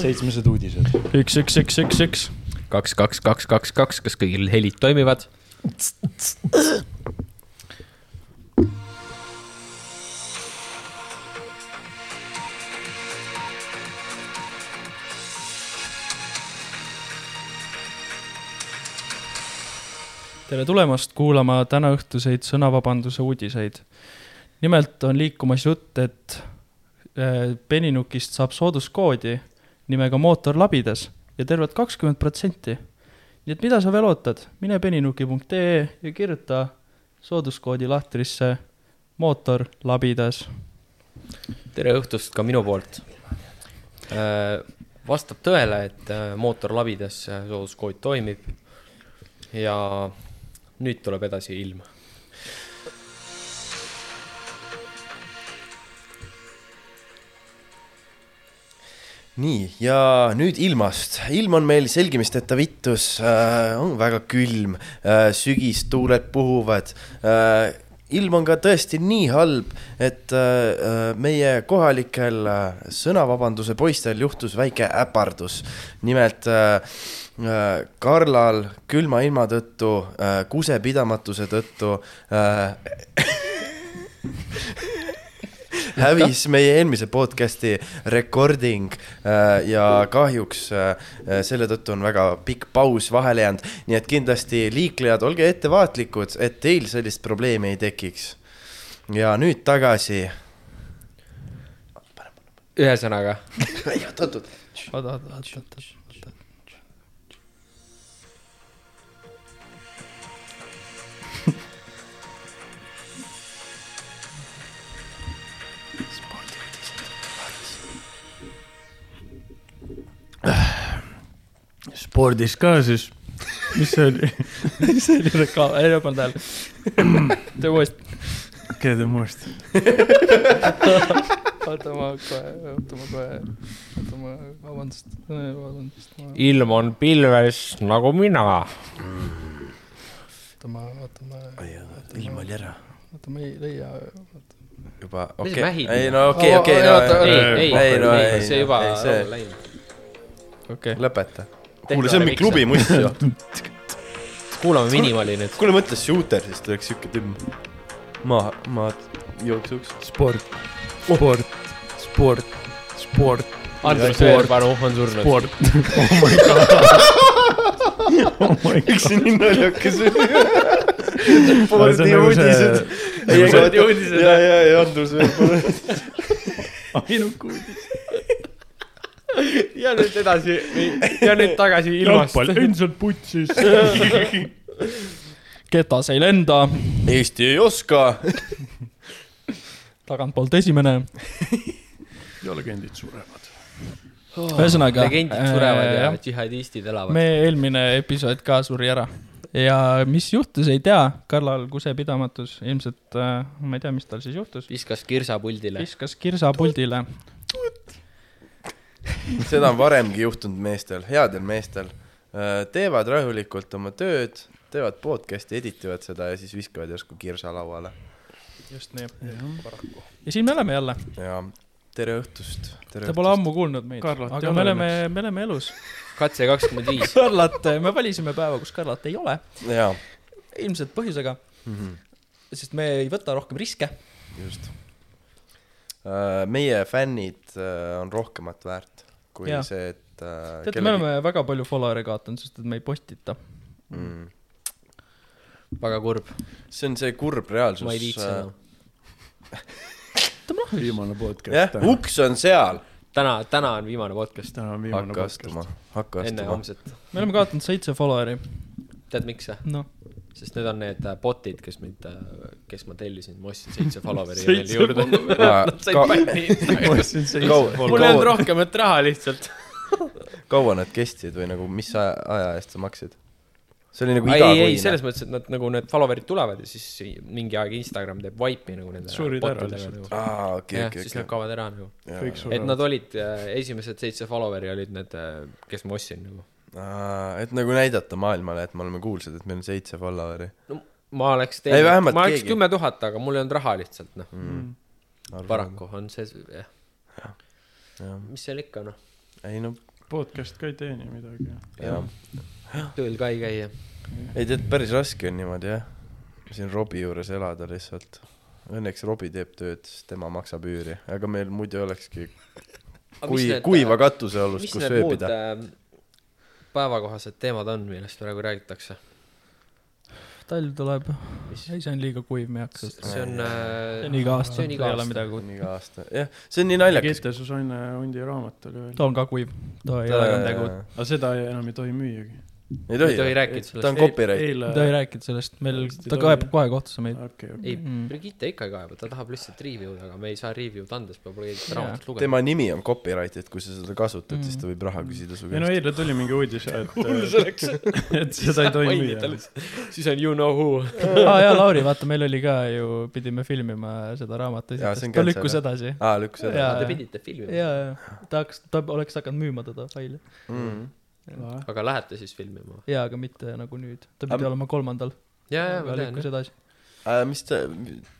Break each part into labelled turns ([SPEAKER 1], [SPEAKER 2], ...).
[SPEAKER 1] seitsmesed uudised .
[SPEAKER 2] üks , üks , üks , üks , üks .
[SPEAKER 3] kaks , kaks , kaks , kaks , kaks , kas kõigil helid toimivad ?
[SPEAKER 2] tere tulemast kuulama tänaõhtuseid sõnavabanduse uudiseid . nimelt on liikumas jutt , et äh, peninukist saab sooduskoodi nimega Mootor labides ja tervelt kakskümmend protsenti . nii et mida sa veel ootad , mine peninuki.ee ja kirjuta sooduskoodi lahtrisse mootor labides .
[SPEAKER 3] tere õhtust ka minu poolt . vastab tõele , et äh, mootorlabides äh, sooduskood toimib . ja nüüd tuleb edasi ilm .
[SPEAKER 4] nii , ja nüüd ilmast . ilm on meil selgimisteta vittus äh, , on väga külm äh, , sügistuuled puhuvad äh, . ilm on ka tõesti nii halb , et äh, äh, meie kohalikel äh, sõnavabanduse poistel juhtus väike äpardus . nimelt äh, äh, Karlal külma ilma tõttu äh, , kusepidamatuse tõttu äh, hävis meie eelmise podcast'i recording äh, ja kahjuks äh, äh, selle tõttu on väga pikk paus vahele jäänud . nii et kindlasti liiklejad , olge ettevaatlikud , et teil sellist probleemi ei tekiks . ja nüüd tagasi .
[SPEAKER 3] ühesõnaga ,
[SPEAKER 4] oot , oot , oot .
[SPEAKER 2] oota , oota , oota , oota , oota .
[SPEAKER 5] spordis ka siis , mis see oli ,
[SPEAKER 2] see oli reklaam , ei olnud hääl . tee uuesti ,
[SPEAKER 5] keda te muist ,
[SPEAKER 2] oota ma kohe , oota ma kohe , oota ma , vabandust , vabandust , ma
[SPEAKER 3] ilm on pilves nagu mina .
[SPEAKER 2] oota , ma , oota , ma ,
[SPEAKER 4] ilm oli ära
[SPEAKER 2] oota , ma ei leia .
[SPEAKER 4] juba ,
[SPEAKER 3] Mis Oh,
[SPEAKER 4] okei okay.
[SPEAKER 3] mähid? ,
[SPEAKER 4] ei no okei
[SPEAKER 2] Aa,
[SPEAKER 4] okay, , okei
[SPEAKER 2] ei, oota,
[SPEAKER 3] ei
[SPEAKER 4] okay, ,
[SPEAKER 3] ei ,
[SPEAKER 4] no , ei, no
[SPEAKER 3] ei
[SPEAKER 4] ei, ,
[SPEAKER 3] see juba
[SPEAKER 4] ei, see-
[SPEAKER 3] on läinud .
[SPEAKER 2] okei okay. ,
[SPEAKER 4] lõpeta . kuule , see on mingi klubi muistu ju .
[SPEAKER 3] kuulame Minimali nüüd .
[SPEAKER 4] kuule , mõtle , shooter , siis tuleks siuke tõmm . maa , maad jooksuks .
[SPEAKER 5] sport , Oh. sport , sport , sport ,
[SPEAKER 3] Andrus Veerpalu on surnud .
[SPEAKER 5] sport . oh my god , oh my god .
[SPEAKER 4] miks see nii naljakas oli ?
[SPEAKER 5] Aga see
[SPEAKER 4] spordi
[SPEAKER 5] on nagu see-
[SPEAKER 4] uudised .
[SPEAKER 5] nagu see-
[SPEAKER 4] spordi uudised . ja , ja , ja Andrus Veerpalu .
[SPEAKER 5] ainuke
[SPEAKER 3] ja nüüd edasi ja nüüd tagasi ilmast .
[SPEAKER 5] jalgpall endiselt putsis .
[SPEAKER 2] ketas ei lenda ,
[SPEAKER 4] Eesti ei oska .
[SPEAKER 2] tagantpoolt esimene ,
[SPEAKER 5] ja legendid surevad .
[SPEAKER 2] Oh, ühesõnaga .
[SPEAKER 3] legendid surevad ja . džihadistid elavad .
[SPEAKER 2] meie eelmine episood ka suri ära ja mis juhtus , ei tea , Karlal kusepidamatus ilmselt äh, , ma ei tea , mis tal siis juhtus ,
[SPEAKER 3] viskas kirsa puldile .
[SPEAKER 2] viskas kirsa puldile .
[SPEAKER 4] seda on varemgi juhtunud meestel , headel meestel . teevad rahulikult oma tööd , teevad podcast'i , editivad seda ja siis viskavad järsku kirsa lauale .
[SPEAKER 2] just nii . ja siin me oleme jälle ,
[SPEAKER 4] ja tere õhtust .
[SPEAKER 2] te pole ammu kuulnud meid ,
[SPEAKER 5] Karlat ei
[SPEAKER 2] aga
[SPEAKER 5] ole
[SPEAKER 2] me oleme , me oleme elus .
[SPEAKER 3] katse kakskümmend viis .
[SPEAKER 2] Karlat , me valisime päeva , kus Karlat ei ole ,
[SPEAKER 4] jaa ,
[SPEAKER 2] ilmselt põhjusega mm ,
[SPEAKER 4] Mhm.
[SPEAKER 2] -hmm. sest me ei võta rohkem riske .
[SPEAKER 4] Äh, just . meie fännid äh, on rohkemat väärt kui
[SPEAKER 2] Jaa.
[SPEAKER 4] ja. see , et äh,
[SPEAKER 2] teate , me oleme väga palju follower'e kaotanud , sest et me ei postita .
[SPEAKER 4] mm.
[SPEAKER 3] väga kurb ,
[SPEAKER 4] see on see kurb
[SPEAKER 3] ma ei viitsi
[SPEAKER 4] reaalsus . äh,
[SPEAKER 3] enam .
[SPEAKER 5] viimane podcast .
[SPEAKER 4] jah , uks on seal .
[SPEAKER 3] täna , täna on viimane podcast ,
[SPEAKER 5] täna on viimane
[SPEAKER 4] hakka
[SPEAKER 5] podcast .
[SPEAKER 4] astuma , hakka
[SPEAKER 3] enne
[SPEAKER 4] astuma .
[SPEAKER 3] homset .
[SPEAKER 2] me oleme kaotanud seitse follower'i ,
[SPEAKER 3] tead , miks see ?
[SPEAKER 2] noh ,
[SPEAKER 3] sest need on need äh, bot'id , kes mind , kes ma tellisin , ma ostsin seitse follower'i veel
[SPEAKER 2] Seitse
[SPEAKER 3] juurde . Nad said
[SPEAKER 4] Ka-
[SPEAKER 3] bänni . mul ei olnud
[SPEAKER 4] kaua ,
[SPEAKER 3] rohkemat raha lihtsalt .
[SPEAKER 4] kaua nad kestsid või nagu , mis aja, aja eest sa maksid ? see oli nagu
[SPEAKER 3] ei , ei ,
[SPEAKER 4] igakuine
[SPEAKER 3] selles . mõttes , et nad nagu need follower'id tulevad ja siis mingi aeg Instagram teeb wipe'i nagu nende .
[SPEAKER 5] Surid ära lihtsalt. .
[SPEAKER 4] aa , okei ,
[SPEAKER 3] jah ,
[SPEAKER 4] okei ,
[SPEAKER 3] siis nad kaovad ära nagu .
[SPEAKER 5] kõik
[SPEAKER 4] okei .
[SPEAKER 3] et
[SPEAKER 5] surevad
[SPEAKER 3] nad . olid , esimesed seitse follower'i olid need , kes ma ostsin nagu .
[SPEAKER 4] et nagu näidata maailmale , et me oleme kuulsad , et meil on seitse follower'i .
[SPEAKER 3] no ma oleks
[SPEAKER 4] Ei,
[SPEAKER 3] teinud ,
[SPEAKER 4] vähemalt
[SPEAKER 3] ma oleks
[SPEAKER 4] keegi.
[SPEAKER 3] kümme tuhat , aga mul ei olnud raha lihtsalt noh .
[SPEAKER 4] Mm.
[SPEAKER 3] paraku on see , jah , mis seal ikka noh .
[SPEAKER 4] ei no ,
[SPEAKER 1] podcast ka ei teeni midagi .
[SPEAKER 4] jah .
[SPEAKER 3] tööl ka ei käi ja
[SPEAKER 4] ei tead , päris raske on niimoodi jah , siin Robi juures elada lihtsalt . Õnneks Robi teeb tööd , sest tema maksab üüri , aga meil muidu olekski kui , kuiva katuse alust ,
[SPEAKER 3] äh, mis
[SPEAKER 4] kus
[SPEAKER 3] need
[SPEAKER 4] ööbida .
[SPEAKER 3] muud äh, päevakohased teemad on , millest praegu räägitakse ?
[SPEAKER 2] talv tuleb , ei see on liiga kuiv , me ei hakka .
[SPEAKER 3] see on
[SPEAKER 2] see
[SPEAKER 3] äh,
[SPEAKER 2] on iga aasta ,
[SPEAKER 3] see on
[SPEAKER 2] ei
[SPEAKER 3] iga
[SPEAKER 2] ole
[SPEAKER 3] aasta.
[SPEAKER 2] midagi uut .
[SPEAKER 4] on iga aasta , jah , see on nii naljakas .
[SPEAKER 1] Gete Susanne Hundi raamat oli veel .
[SPEAKER 2] ta on ka kuiv , ta ei ole ka midagi uut .
[SPEAKER 4] ei
[SPEAKER 1] aga seda ei- enam ei tohi müüagi .
[SPEAKER 3] ei tohi
[SPEAKER 4] tohi ,
[SPEAKER 3] rääkida
[SPEAKER 4] ta
[SPEAKER 3] sellest
[SPEAKER 4] on . copyright .
[SPEAKER 1] eile
[SPEAKER 2] ta ei rääkinud sellest , meil ,
[SPEAKER 1] Tõesti
[SPEAKER 2] ta
[SPEAKER 1] tore.
[SPEAKER 2] kaebab kohe kohtusse meid .
[SPEAKER 1] okei , okei .
[SPEAKER 3] ei
[SPEAKER 2] Mm. ,
[SPEAKER 3] Brigitte ikka ei kaeba , ta tahab lihtsalt review'd , aga me ei saa review'd anda , sest peab keegi
[SPEAKER 2] Jaa.
[SPEAKER 3] seda raamatut lugema .
[SPEAKER 4] tema nimi on copyright , et kui sa seda kasutad , siis
[SPEAKER 2] Mm.
[SPEAKER 4] ta võib raha küsida su
[SPEAKER 1] ei no
[SPEAKER 4] käest .
[SPEAKER 1] eile tuli mingi uudis , et ,
[SPEAKER 3] oleks ,
[SPEAKER 1] et seda ei tohi müüa .
[SPEAKER 3] siis on you know who .
[SPEAKER 2] aa Ah, jaa , Lauri , vaata , meil oli ka ju , pidime filmima seda raamatu
[SPEAKER 4] Jaa, see
[SPEAKER 2] esitlust ,
[SPEAKER 4] on
[SPEAKER 2] ta
[SPEAKER 4] cancel,
[SPEAKER 2] lükkus
[SPEAKER 4] jah.
[SPEAKER 2] edasi .
[SPEAKER 4] aa , lükkas
[SPEAKER 2] Jaa.
[SPEAKER 4] edasi .
[SPEAKER 3] Te pidite filmima ,
[SPEAKER 2] jaa , jaa , ta hakkas , ta oleks hakanud müüma teda faili .
[SPEAKER 4] Mm.
[SPEAKER 3] aga lähete siis filmima ?
[SPEAKER 2] jaa , aga mitte nagu nüüd , ta pidi
[SPEAKER 4] Aga-
[SPEAKER 2] olema kolmandal ,
[SPEAKER 3] ja , ja ma
[SPEAKER 2] aga
[SPEAKER 3] tean
[SPEAKER 2] lükkus . edasi .
[SPEAKER 4] Äh, mis ta ,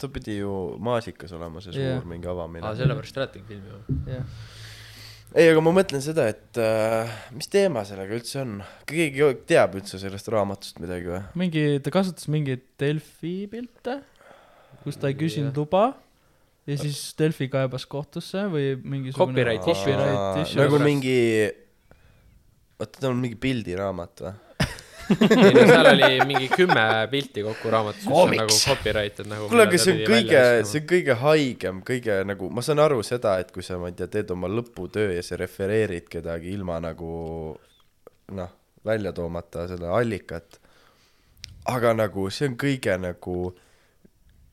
[SPEAKER 4] ta pidi ju maasikas olema , see
[SPEAKER 2] Jah.
[SPEAKER 4] suur mingi avamine
[SPEAKER 3] aa ,. sellepärast räägitegi filmima .
[SPEAKER 2] jah ,
[SPEAKER 4] ei , aga ma mõtlen seda , et äh, mis teema sellega üldse on , keegi teab üldse sellest raamatust midagi või ?
[SPEAKER 2] mingi , ta kasutas mingeid Delfi pilte , kus ta ei küsinud luba ja siis Delfi kaebas kohtusse või mingisugune
[SPEAKER 3] Copyright issue.
[SPEAKER 2] copyright issue
[SPEAKER 4] nagu
[SPEAKER 3] Sellepärast-
[SPEAKER 4] mingi , oota , ta on mingi pildiraamat või ?
[SPEAKER 3] ei no seal oli mingi kümme pilti kokku raamatus , mis on nagu copyrighted nagu .
[SPEAKER 4] kuule , aga see on kõige , see on kõige haigem , kõige nagu , ma saan aru seda , et kui sa , ma ei tea , teed oma lõputöö ja sa refereerid kedagi ilma nagu noh , välja toomata seda allikat . aga nagu see on kõige nagu
[SPEAKER 3] nagu.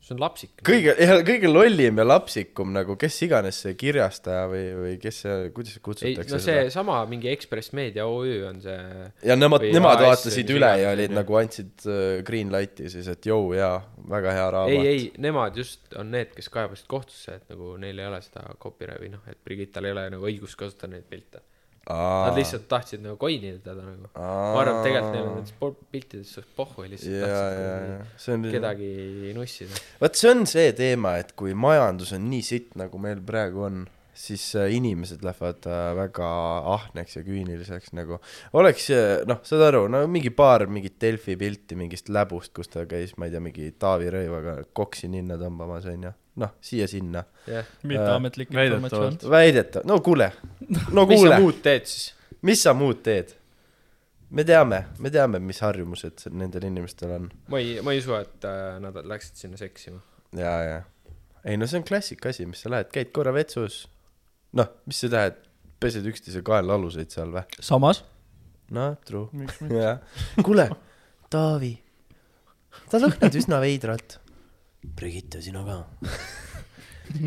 [SPEAKER 3] see on lapsik .
[SPEAKER 4] kõige , kõige lollim ja lapsikum nagu kes iganes see kirjastaja või , või kes see , kuidas
[SPEAKER 3] ei ,
[SPEAKER 4] kutsutakse
[SPEAKER 3] no see sama mingi Ekspress Meedia OÜ on see ,
[SPEAKER 4] seda ja nemad ,
[SPEAKER 3] või
[SPEAKER 4] nemad
[SPEAKER 3] AS
[SPEAKER 4] vaatasid
[SPEAKER 3] või mis
[SPEAKER 4] üle
[SPEAKER 3] iganes,
[SPEAKER 4] ja
[SPEAKER 3] on
[SPEAKER 4] olid
[SPEAKER 3] ju.
[SPEAKER 4] nagu andsid äh, green light'i siis , et jõu jaa , väga hea
[SPEAKER 3] ei ,
[SPEAKER 4] raamat .
[SPEAKER 3] ei , nemad just on need , kes kaebasid kohtusse , et nagu neil ei ole seda copyright või noh , et Brigittal ei ole nagu õigust kasutada neid pilte . Nad lihtsalt tahtsid nagu coin'ida teda nagu . ma arvan , et tegelikult neil on nendes po- piltides suht pohhu ja lihtsalt
[SPEAKER 4] ja , ja ,
[SPEAKER 3] tahtsid
[SPEAKER 4] ja
[SPEAKER 3] nagu
[SPEAKER 4] see on kedagi .
[SPEAKER 3] kedagi nussida .
[SPEAKER 4] vot see on see teema , et kui majandus on nii sitt , nagu meil praegu on , siis äh, inimesed lähevad äh, väga ahneks ja küüniliseks nagu . oleks äh, noh , saad aru , no mingi paar mingit Delfi pilti mingist läbust , kus ta käis , ma ei tea , mingi Taavi Rõivaga koksi ninna tõmbamas onju , noh siia-sinna .
[SPEAKER 3] jah ,
[SPEAKER 2] mitteametlik
[SPEAKER 1] Väidetavalt.
[SPEAKER 2] informatsioon .
[SPEAKER 4] väidetav , no kuule , no
[SPEAKER 3] mis sa
[SPEAKER 4] kuule ,
[SPEAKER 3] muud teed siis ?
[SPEAKER 4] mis sa muud teed ? me teame , me teame , mis harjumused nendel inimestel on
[SPEAKER 3] ma ei , ma ei usu , et äh, nad läksid sinna seksima .
[SPEAKER 4] ja , ja ei no see on klassikasi , mis sa lähed , käid korra vetsus . noh , mis sa lähed , pesed üksteise kaelaaluseid seal või ?
[SPEAKER 2] samas ,
[SPEAKER 4] no true .
[SPEAKER 1] miks mitte ?
[SPEAKER 4] jah . kuule , Taavi , sa lõhnad üsna veidralt . Brigitte , sina ka .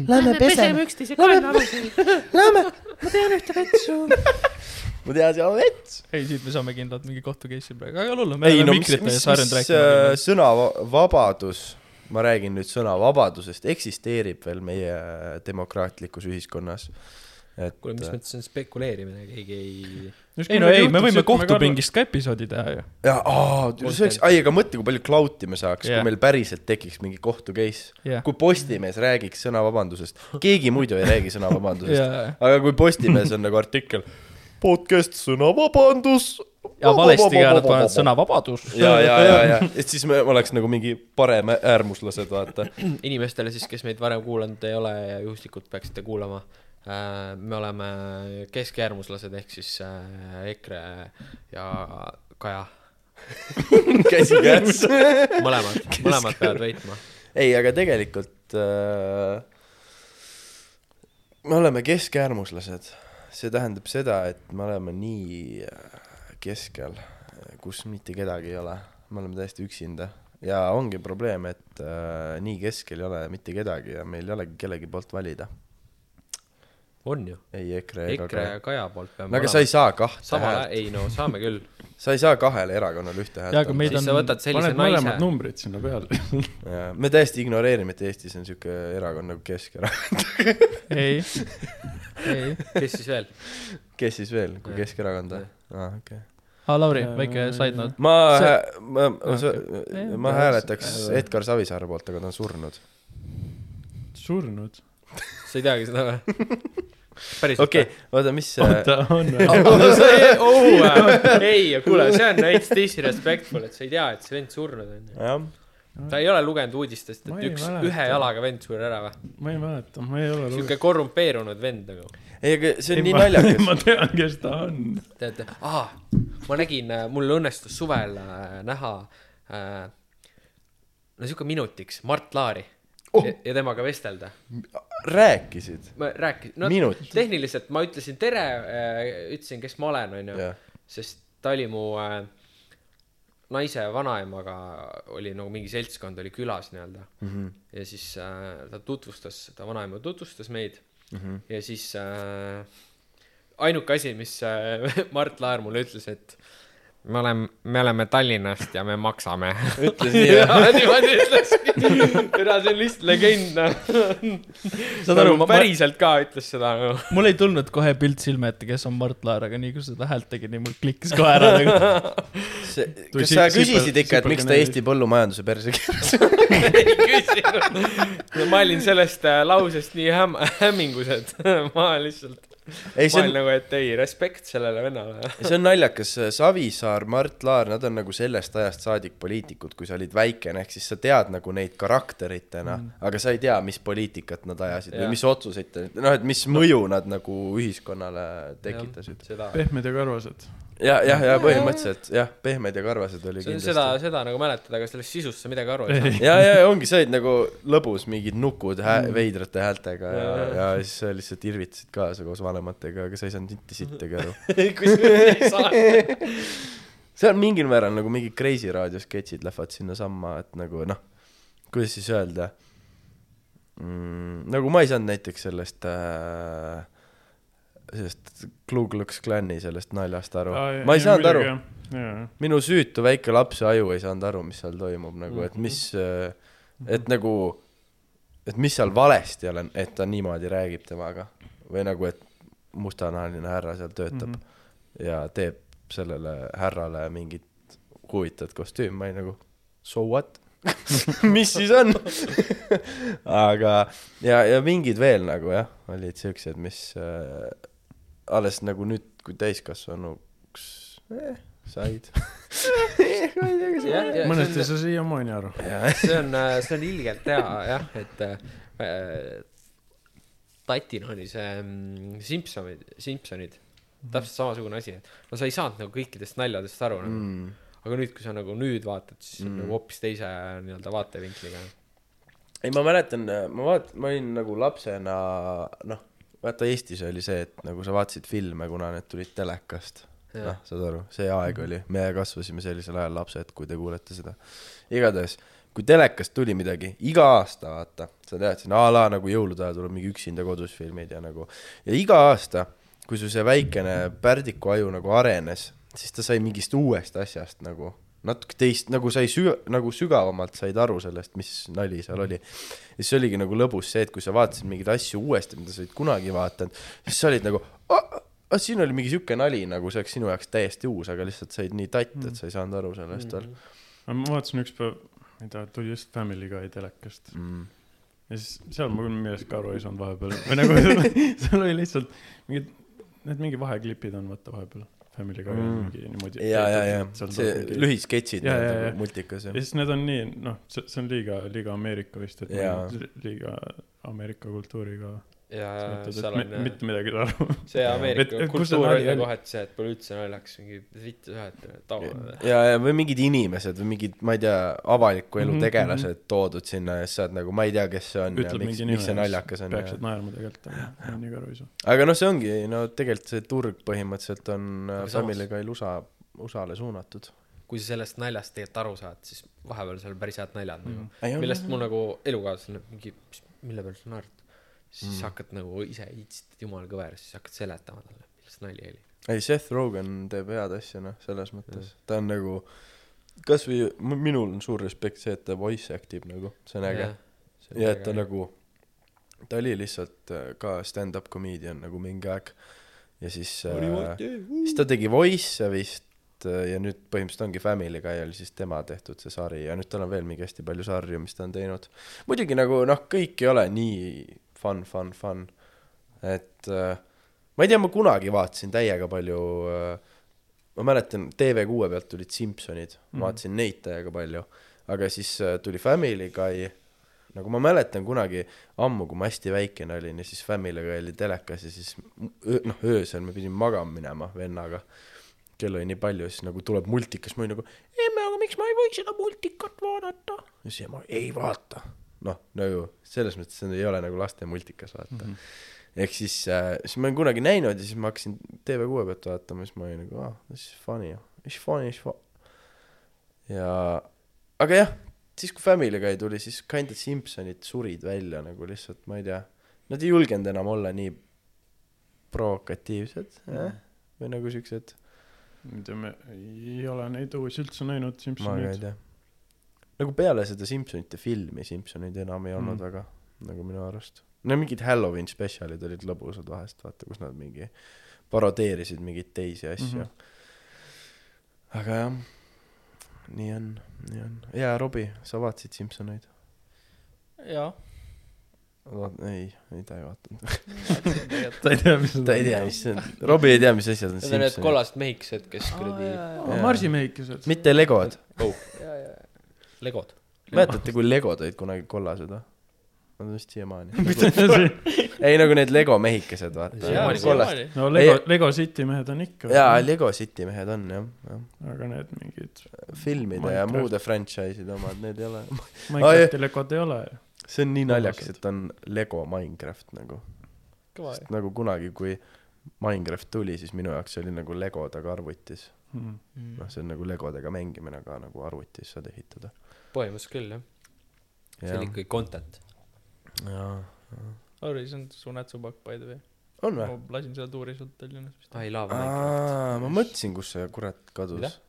[SPEAKER 4] Lähme peseme üksteise kaelaaluseid . Lähme , ma tean ühte vetsu . ma tean seda vetsu .
[SPEAKER 2] ei siit me saame kindlalt mingi kohtu case'i praegu , aga ei ole hullu , me
[SPEAKER 4] ei no
[SPEAKER 2] oleme
[SPEAKER 4] mis ,
[SPEAKER 2] mikrite
[SPEAKER 4] mis ,
[SPEAKER 2] ees harjunud
[SPEAKER 4] mis
[SPEAKER 2] rääkima .
[SPEAKER 4] äh, sõnavabadus , ma räägin nüüd sõnavabadusest , eksisteerib veel meie demokraatlikus ühiskonnas . et
[SPEAKER 3] kuule , mis mõttes see on spekuleerimine , keegi ei .
[SPEAKER 2] ei no ei , me võime kohtupingist ka episoodi teha ju .
[SPEAKER 4] ja aa , see oleks , ai , aga mõtle , kui palju klauti me saaks yeah. ,
[SPEAKER 2] Jah.
[SPEAKER 4] kui meil päriselt tekiks mingi kohtu case
[SPEAKER 2] Jah.
[SPEAKER 4] kui Postimees räägiks sõnavabandusest , keegi muidu ei räägi sõnavabandusest ,
[SPEAKER 2] jaa ,
[SPEAKER 4] aga kui Postimees on nagu artikkel , podcast sõnavabandus .
[SPEAKER 2] ja valesti ka nad panevad sõna . vabadus .
[SPEAKER 4] ja , ja , ja , ja , et siis me oleks nagu mingi parem äärmuslased , vaata .
[SPEAKER 3] inimestele siis , kes meid varem kuulanud ei ole ja juhuslikult peaksite kuulama , me oleme keskäärmuslased ehk siis äh, EKRE ja Kaja ,
[SPEAKER 4] käsikäes .
[SPEAKER 3] mõlemad , mõlemad peavad võitma .
[SPEAKER 4] ei , aga tegelikult äh, me oleme keskäärmuslased , see tähendab seda , et me oleme nii äh, keskel , kus mitte kedagi ei ole , me oleme täiesti üksinda ja ongi probleem , et äh, nii keskel ei ole mitte kedagi ja meil ei olegi kellegi poolt valida ,
[SPEAKER 3] on ju ,
[SPEAKER 4] ei EKRE ega
[SPEAKER 3] EKRE
[SPEAKER 4] ka .
[SPEAKER 3] ja Kaja poolt
[SPEAKER 4] no
[SPEAKER 3] peame
[SPEAKER 4] aga sa ei saa kahte
[SPEAKER 3] sama ,
[SPEAKER 4] häält ,
[SPEAKER 3] ei no saame küll ,
[SPEAKER 4] sa ei saa kahele erakonnale ühte häält
[SPEAKER 2] Jaa, aga meid
[SPEAKER 4] anda.
[SPEAKER 2] on-
[SPEAKER 3] siis sa võtad sellise
[SPEAKER 1] paned mõlemad
[SPEAKER 3] naise ,
[SPEAKER 1] numbrid sinna peale .
[SPEAKER 4] Ja me täiesti ignoreerime , et Eestis on siuke erakond nagu Keskerakond ,
[SPEAKER 2] ei , ei .
[SPEAKER 3] kes siis veel ?
[SPEAKER 4] kes siis veel , kui
[SPEAKER 3] Jah.
[SPEAKER 4] Keskerakond või
[SPEAKER 3] Jah. ?
[SPEAKER 4] aa , okei okay. .
[SPEAKER 2] aa , Lauri
[SPEAKER 1] Äh, ,
[SPEAKER 2] väike side note .
[SPEAKER 4] ma
[SPEAKER 2] See- ,
[SPEAKER 4] ma , ma,
[SPEAKER 2] Okei.
[SPEAKER 4] ma
[SPEAKER 2] Ei,
[SPEAKER 4] hääletaks Edgar Savisaare poolt , aga ta on surnud .
[SPEAKER 1] surnud .
[SPEAKER 3] sa ei teagi seda või ? päriselt
[SPEAKER 4] okei , oota , mis see ,
[SPEAKER 1] oota , on või ?
[SPEAKER 3] Oh, või ? oh, ei , kuule , see on veits disrespectful , et sa ei tea , et see vend surnud on ju .
[SPEAKER 4] jah ,
[SPEAKER 3] ta ei ole lugenud uudistest ,
[SPEAKER 1] Ma
[SPEAKER 3] et
[SPEAKER 1] ei
[SPEAKER 3] üks ,
[SPEAKER 1] mäleta.
[SPEAKER 3] ühe jalaga vend suri ära või ?
[SPEAKER 1] ma ei mäleta , ma ei ole lugenud .
[SPEAKER 3] sihuke korrumpeerunud vend nagu .
[SPEAKER 4] ei , aga see on nii naljakas .
[SPEAKER 1] ma tean , kes ta on .
[SPEAKER 3] tead , aa , ma nägin , mul õnnestus suvel äh, näha äh, no sihuke minutiks Mart Laari oh. ja, ja temaga vestelda .
[SPEAKER 4] rääkisid ?
[SPEAKER 3] ma rääkisin , no
[SPEAKER 4] Minut.
[SPEAKER 3] tehniliselt ma ütlesin tere , ütlesin , kes ma olen , onju
[SPEAKER 4] Jah. ,
[SPEAKER 3] sest ta oli mu äh, naise vanaemaga oli nagu mingi seltskond oli külas nii-öelda mm
[SPEAKER 2] Mhm.
[SPEAKER 3] -hmm. ja siis äh, ta tutvustas , ta vanaema tutvustas meid mm
[SPEAKER 2] Mhm.
[SPEAKER 3] -hmm. ja siis äh, ainuke asi , mis äh, Mart Laar mulle ütles , et me oleme , me oleme Tallinnast ja me maksame .
[SPEAKER 4] ütles nii , jah ?
[SPEAKER 3] niimoodi ütles , see on lihtsalt legend noh .
[SPEAKER 2] saad aru , ma päris ,
[SPEAKER 3] päriselt ka ütles seda nagu .
[SPEAKER 2] mul ei tulnud kohe pilt silme ette , kes on Mart Laar , aga nii kui sa seda häält tegid , nii mul klikkis kohe ära nagu .
[SPEAKER 4] see ,
[SPEAKER 1] Tuli
[SPEAKER 4] kas sa
[SPEAKER 1] sip-
[SPEAKER 4] küsisid
[SPEAKER 1] sipel-
[SPEAKER 4] ikka , et miks ta
[SPEAKER 1] sipelgeneerik.
[SPEAKER 4] Eesti põllumajanduse perse keeras ?
[SPEAKER 3] ei küsinud . ma olin sellest äh, lausest nii häm- , hämmingus , et ma lihtsalt ,
[SPEAKER 4] ei ,
[SPEAKER 3] ma
[SPEAKER 4] see on
[SPEAKER 3] olin , nagu , et ei , respekt sellele vennale .
[SPEAKER 4] see on naljakas , Savisaar , Mart Laar , nad on nagu sellest ajast saadik poliitikud , kui sa olid väikene , ehk siis sa tead nagu neid karakteritena mm. , aga sa ei tea , mis poliitikat nad ajasid ja.
[SPEAKER 3] Jah.
[SPEAKER 4] või mis otsuseid , noh , et mis mõju nad nagu ühiskonnale tekitasid .
[SPEAKER 3] seda ,
[SPEAKER 1] pehmed ja karvased .
[SPEAKER 4] ja , jah , ja põhimõtteliselt jah , pehmed ja karvased oli
[SPEAKER 3] seda ,
[SPEAKER 4] kindlasti .
[SPEAKER 3] seda, seda nagu mäletad , aga sellest sisust sa midagi aru ei saa .
[SPEAKER 4] ja , ja ongi , sa olid nagu lõbus mingid nukud hä veidrate häältega ja,
[SPEAKER 3] Ja, ja.
[SPEAKER 4] ja siis sa lihtsalt irvitasid kaasa koos vanematega , aga sa ei saanud mitte sittagi aru .
[SPEAKER 3] kusjuures ei saa .
[SPEAKER 4] see on mingil määral nagu mingi Kreisi raadio sketšid lähevad sinnasamma , et nagu noh , kuidas siis öelda mm, . nagu ma ei saanud näiteks sellest äh, , sellest Ku Klux Klani sellest naljast aru . ma ei saanud aru ,. minu süütu väike lapse aju ei saanud aru , mis seal toimub nagu , et mis , et nagu , et mis seal valesti olen , et ta niimoodi räägib temaga või nagu , et mustanahaline härra seal
[SPEAKER 1] Mhm.
[SPEAKER 4] töötab mm -hmm. ja teeb sellele härrale mingit huvitavat kostüümi , ma olin nagu so what ? mis siis on ? aga , ja , ja mingid veel nagu jah , olid siuksed , mis äh, alles nagu nüüd , kui täiskasvanuks eh, said .
[SPEAKER 1] mõnest ei saa siiamaani aru .
[SPEAKER 3] see on , see on ilgelt hea jah , et äh, tatina oli see mm, Simpsonid , Simpsonid , täpselt samasugune asi , et no sa ei saanud nagu kõikidest naljadest aru nagu. mm. , aga nüüd , kui sa nagu nüüd vaatad , siis mm. nagu hoopis teise nii-öelda vaatevinkliga .
[SPEAKER 4] ei , ma mäletan , ma vaat- , ma olin nagu lapsena , noh , vaata Eestis oli see , et nagu sa vaatasid filme , kuna need tulid telekast .
[SPEAKER 3] Jah.
[SPEAKER 4] noh , saad aru , see aeg oli , me kasvasime sellisel ajal lapsed , kui te kuulete seda . igatahes , kui telekast tuli midagi , iga aasta , vaata , sa tead , siin a la nagu jõulude ajal tuleb mingi üksinda kodus filmid ja nagu , ja iga aasta , kui su see väikene pärdiku aju nagu arenes , siis ta sai mingist uuest asjast nagu natuke teist , nagu sai süga- , nagu sügavamalt said aru sellest , mis nali seal oli . ja siis oligi nagu lõbus see , et kui sa vaatasid mingeid asju uuesti , mida sa olid kunagi vaadanud , siis sa olid nagu "Ah, ah, siin oli mingi sihuke nali nagu see oleks sinu jaoks täiesti uus , aga lihtsalt said nii tatt , et sa ei saanud aru sellest veel mm. .
[SPEAKER 1] ma vaatasin ükspäev , mida tuli just Family Guy telekast .
[SPEAKER 4] Mm.
[SPEAKER 1] ja siis seal ma küll millestki aru ei saanud vahepeal või nagu seal oli lihtsalt mingid , need mingi vaheklipid on vaata vahepeal . Family Guy on
[SPEAKER 4] Mm.
[SPEAKER 1] mingi niimoodi .
[SPEAKER 4] ja , ja , ja see
[SPEAKER 1] ja
[SPEAKER 4] lühisketšid
[SPEAKER 1] Ja, ja, ja.
[SPEAKER 4] nagu multikas ja .
[SPEAKER 1] siis need on nii , noh , see , see on liiga , liiga Ameerika vist , et
[SPEAKER 4] Jaa.
[SPEAKER 1] ma ei- liiga Ameerika kultuuriga
[SPEAKER 3] ja
[SPEAKER 1] seotud , et
[SPEAKER 3] seal
[SPEAKER 1] mi-
[SPEAKER 3] on äh,
[SPEAKER 1] mitte midagi ei saa aru .
[SPEAKER 3] see
[SPEAKER 1] Et-
[SPEAKER 3] Ameerika
[SPEAKER 1] et kus see
[SPEAKER 3] kultuur
[SPEAKER 1] nali
[SPEAKER 3] oli
[SPEAKER 1] oli?
[SPEAKER 3] kohati see , et pole üldse naljakas , mingi vitt ühed tavaline .
[SPEAKER 4] ja , ja või mingid inimesed või mingid , ma ei tea , avaliku
[SPEAKER 1] Mhm,
[SPEAKER 4] elu tegelased mm -hmm. toodud sinna ja siis sa oled nagu , ma ei tea , kes see on
[SPEAKER 1] ütleb
[SPEAKER 4] ja miks
[SPEAKER 1] mingi , nime .
[SPEAKER 4] miks see naljakas on .
[SPEAKER 1] peaksid naerma tegelikult , aga ma nii ka aru ei saa .
[SPEAKER 4] aga noh , see ongi , no tegelikult see turg põhimõtteliselt on äh,
[SPEAKER 3] Aga samas-
[SPEAKER 4] Family Guy USA , USA-le suunatud .
[SPEAKER 3] kui sa sellest naljast tegelikult aru saad , siis vahepeal seal on päris head naljad nagu
[SPEAKER 1] Mm.
[SPEAKER 4] Ei, on,
[SPEAKER 3] millest mul nagu elukaaslane mingi , mille peale sa naerad . siis mm. hakkad nagu ise iitsitad jumala kõver , siis hakkad seletama talle , milles nali oli .
[SPEAKER 4] ei , Seth Rogen teeb head asja , noh , selles mõttes , ta on nagu kasvõi m- minul on suur respekt see , et ta voice act ib nagu , see on äge . ja et ta . nagu , ta oli lihtsalt äh, ka stand-up comedian nagu mingi aeg ja siis äh, , siis ta tegi Voice'e vist äh, ja nüüd põhimõtteliselt ongi Family Guy oli siis tema tehtud see sari ja nüüd tal on veel mingi hästi palju sarju , mis ta on teinud . muidugi nagu noh , kõik ei ole nii fun , fun , fun . et äh, ma ei tea , ma kunagi vaatasin täiega palju äh, , ma mäletan , TV6 pealt tulid Simpsonid mm. , vaatasin neid täiega palju , aga siis äh, tuli Family Guy , nagu ma mäletan kunagi ammu , kui ma hästi väikene olin ja siis Family Guy oli telekas ja siis m- öö- noh , öösel me pidime magama minema vennaga kell oli nii palju , siis nagu tuleb multikas , ma olin nagu , emme , aga miks ma ei või seda multikat vaadata ? ja siis ema , ei vaata . noh , nagu selles mõttes see ei ole nagu laste multikas , vaata
[SPEAKER 1] Mhm.
[SPEAKER 4] mm . -hmm. ehk siis äh, , siis ma olen kunagi näinud ja siis ma hakkasin TV6 pealt vaatama , siis ma olin nagu , ah , this is funny , this is funny , this is funny . ja , aga jah , siis kui Family Guy tuli , siis kind of Simpsonid surid välja nagu lihtsalt , ma ei tea , nad ei julgenud enam olla nii provokatiivsed eh? või nagu siuksed
[SPEAKER 1] ma ei tea , me ei ole neid uusi üldse näinud ,
[SPEAKER 4] ma ka ei
[SPEAKER 1] Simsoneid .
[SPEAKER 4] tea . nagu peale seda Simsonite filmi Simsoneid enam ei olnud
[SPEAKER 1] Mm.
[SPEAKER 4] mm. väga , nagu minu arust . no mingid Halloween spetsialid olid lõbusad vahest , vaata , kus nad mingi parodeerisid mingeid teisi
[SPEAKER 3] Mhm.
[SPEAKER 4] asju mm . -hmm. aga jah , nii on , nii on . ja Robbie , sa vaatasid Simsoneid ?
[SPEAKER 2] jaa .
[SPEAKER 4] ei , ei ta ei vaadanud .
[SPEAKER 1] ta ei tea , mis
[SPEAKER 4] ta ei tea , mis see on . Robbie ei tea , mis asjad on
[SPEAKER 3] Need on need
[SPEAKER 4] Simsonid .
[SPEAKER 3] kollased mehikesed , kes kuradi
[SPEAKER 1] on . marsimehikesed .
[SPEAKER 4] mitte Legod .
[SPEAKER 3] legod .
[SPEAKER 4] mäletate , kui Legod olid kunagi kollased või ? Nad on vist siiamaani . ei , nagu need Lego mehikesed , vaata .
[SPEAKER 3] Siiamaani,
[SPEAKER 4] äh, kollast ,
[SPEAKER 1] no Lego
[SPEAKER 4] Ei- ,
[SPEAKER 1] Lego City mehed on ikka .
[SPEAKER 4] jaa , Lego City mehed on jah , jah .
[SPEAKER 1] aga need mingid
[SPEAKER 4] filmide
[SPEAKER 1] Minecraft.
[SPEAKER 4] Minecraft. ja muude franchise'ide omad , need ei ole .
[SPEAKER 1] Minecrafti Legod ei ole ju .
[SPEAKER 4] see on nii naljakas , et on Lego Minecraft nagu .
[SPEAKER 3] kõva ju .
[SPEAKER 4] nagu kunagi , kui Minecraft tuli , siis minu jaoks see oli nagu Legodega arvutis .
[SPEAKER 1] Mhm.
[SPEAKER 2] Mm.
[SPEAKER 4] noh , see on nagu Legodega mängimine ka nagu arvutis saad ehitada .
[SPEAKER 3] põhimõtteliselt küll jah , see
[SPEAKER 4] jaa
[SPEAKER 3] on , ikkagi content .
[SPEAKER 4] jaa .
[SPEAKER 2] Sorry , see on su nätsupakk by the way .
[SPEAKER 4] on
[SPEAKER 2] ma
[SPEAKER 4] või ?
[SPEAKER 2] lasin selle tuuri sealt Tallinnas vist .
[SPEAKER 3] aa Ah, ei laava Minecraft .
[SPEAKER 4] aa , ma mõtlesin , kus see kurat
[SPEAKER 3] Mida?
[SPEAKER 4] kadus .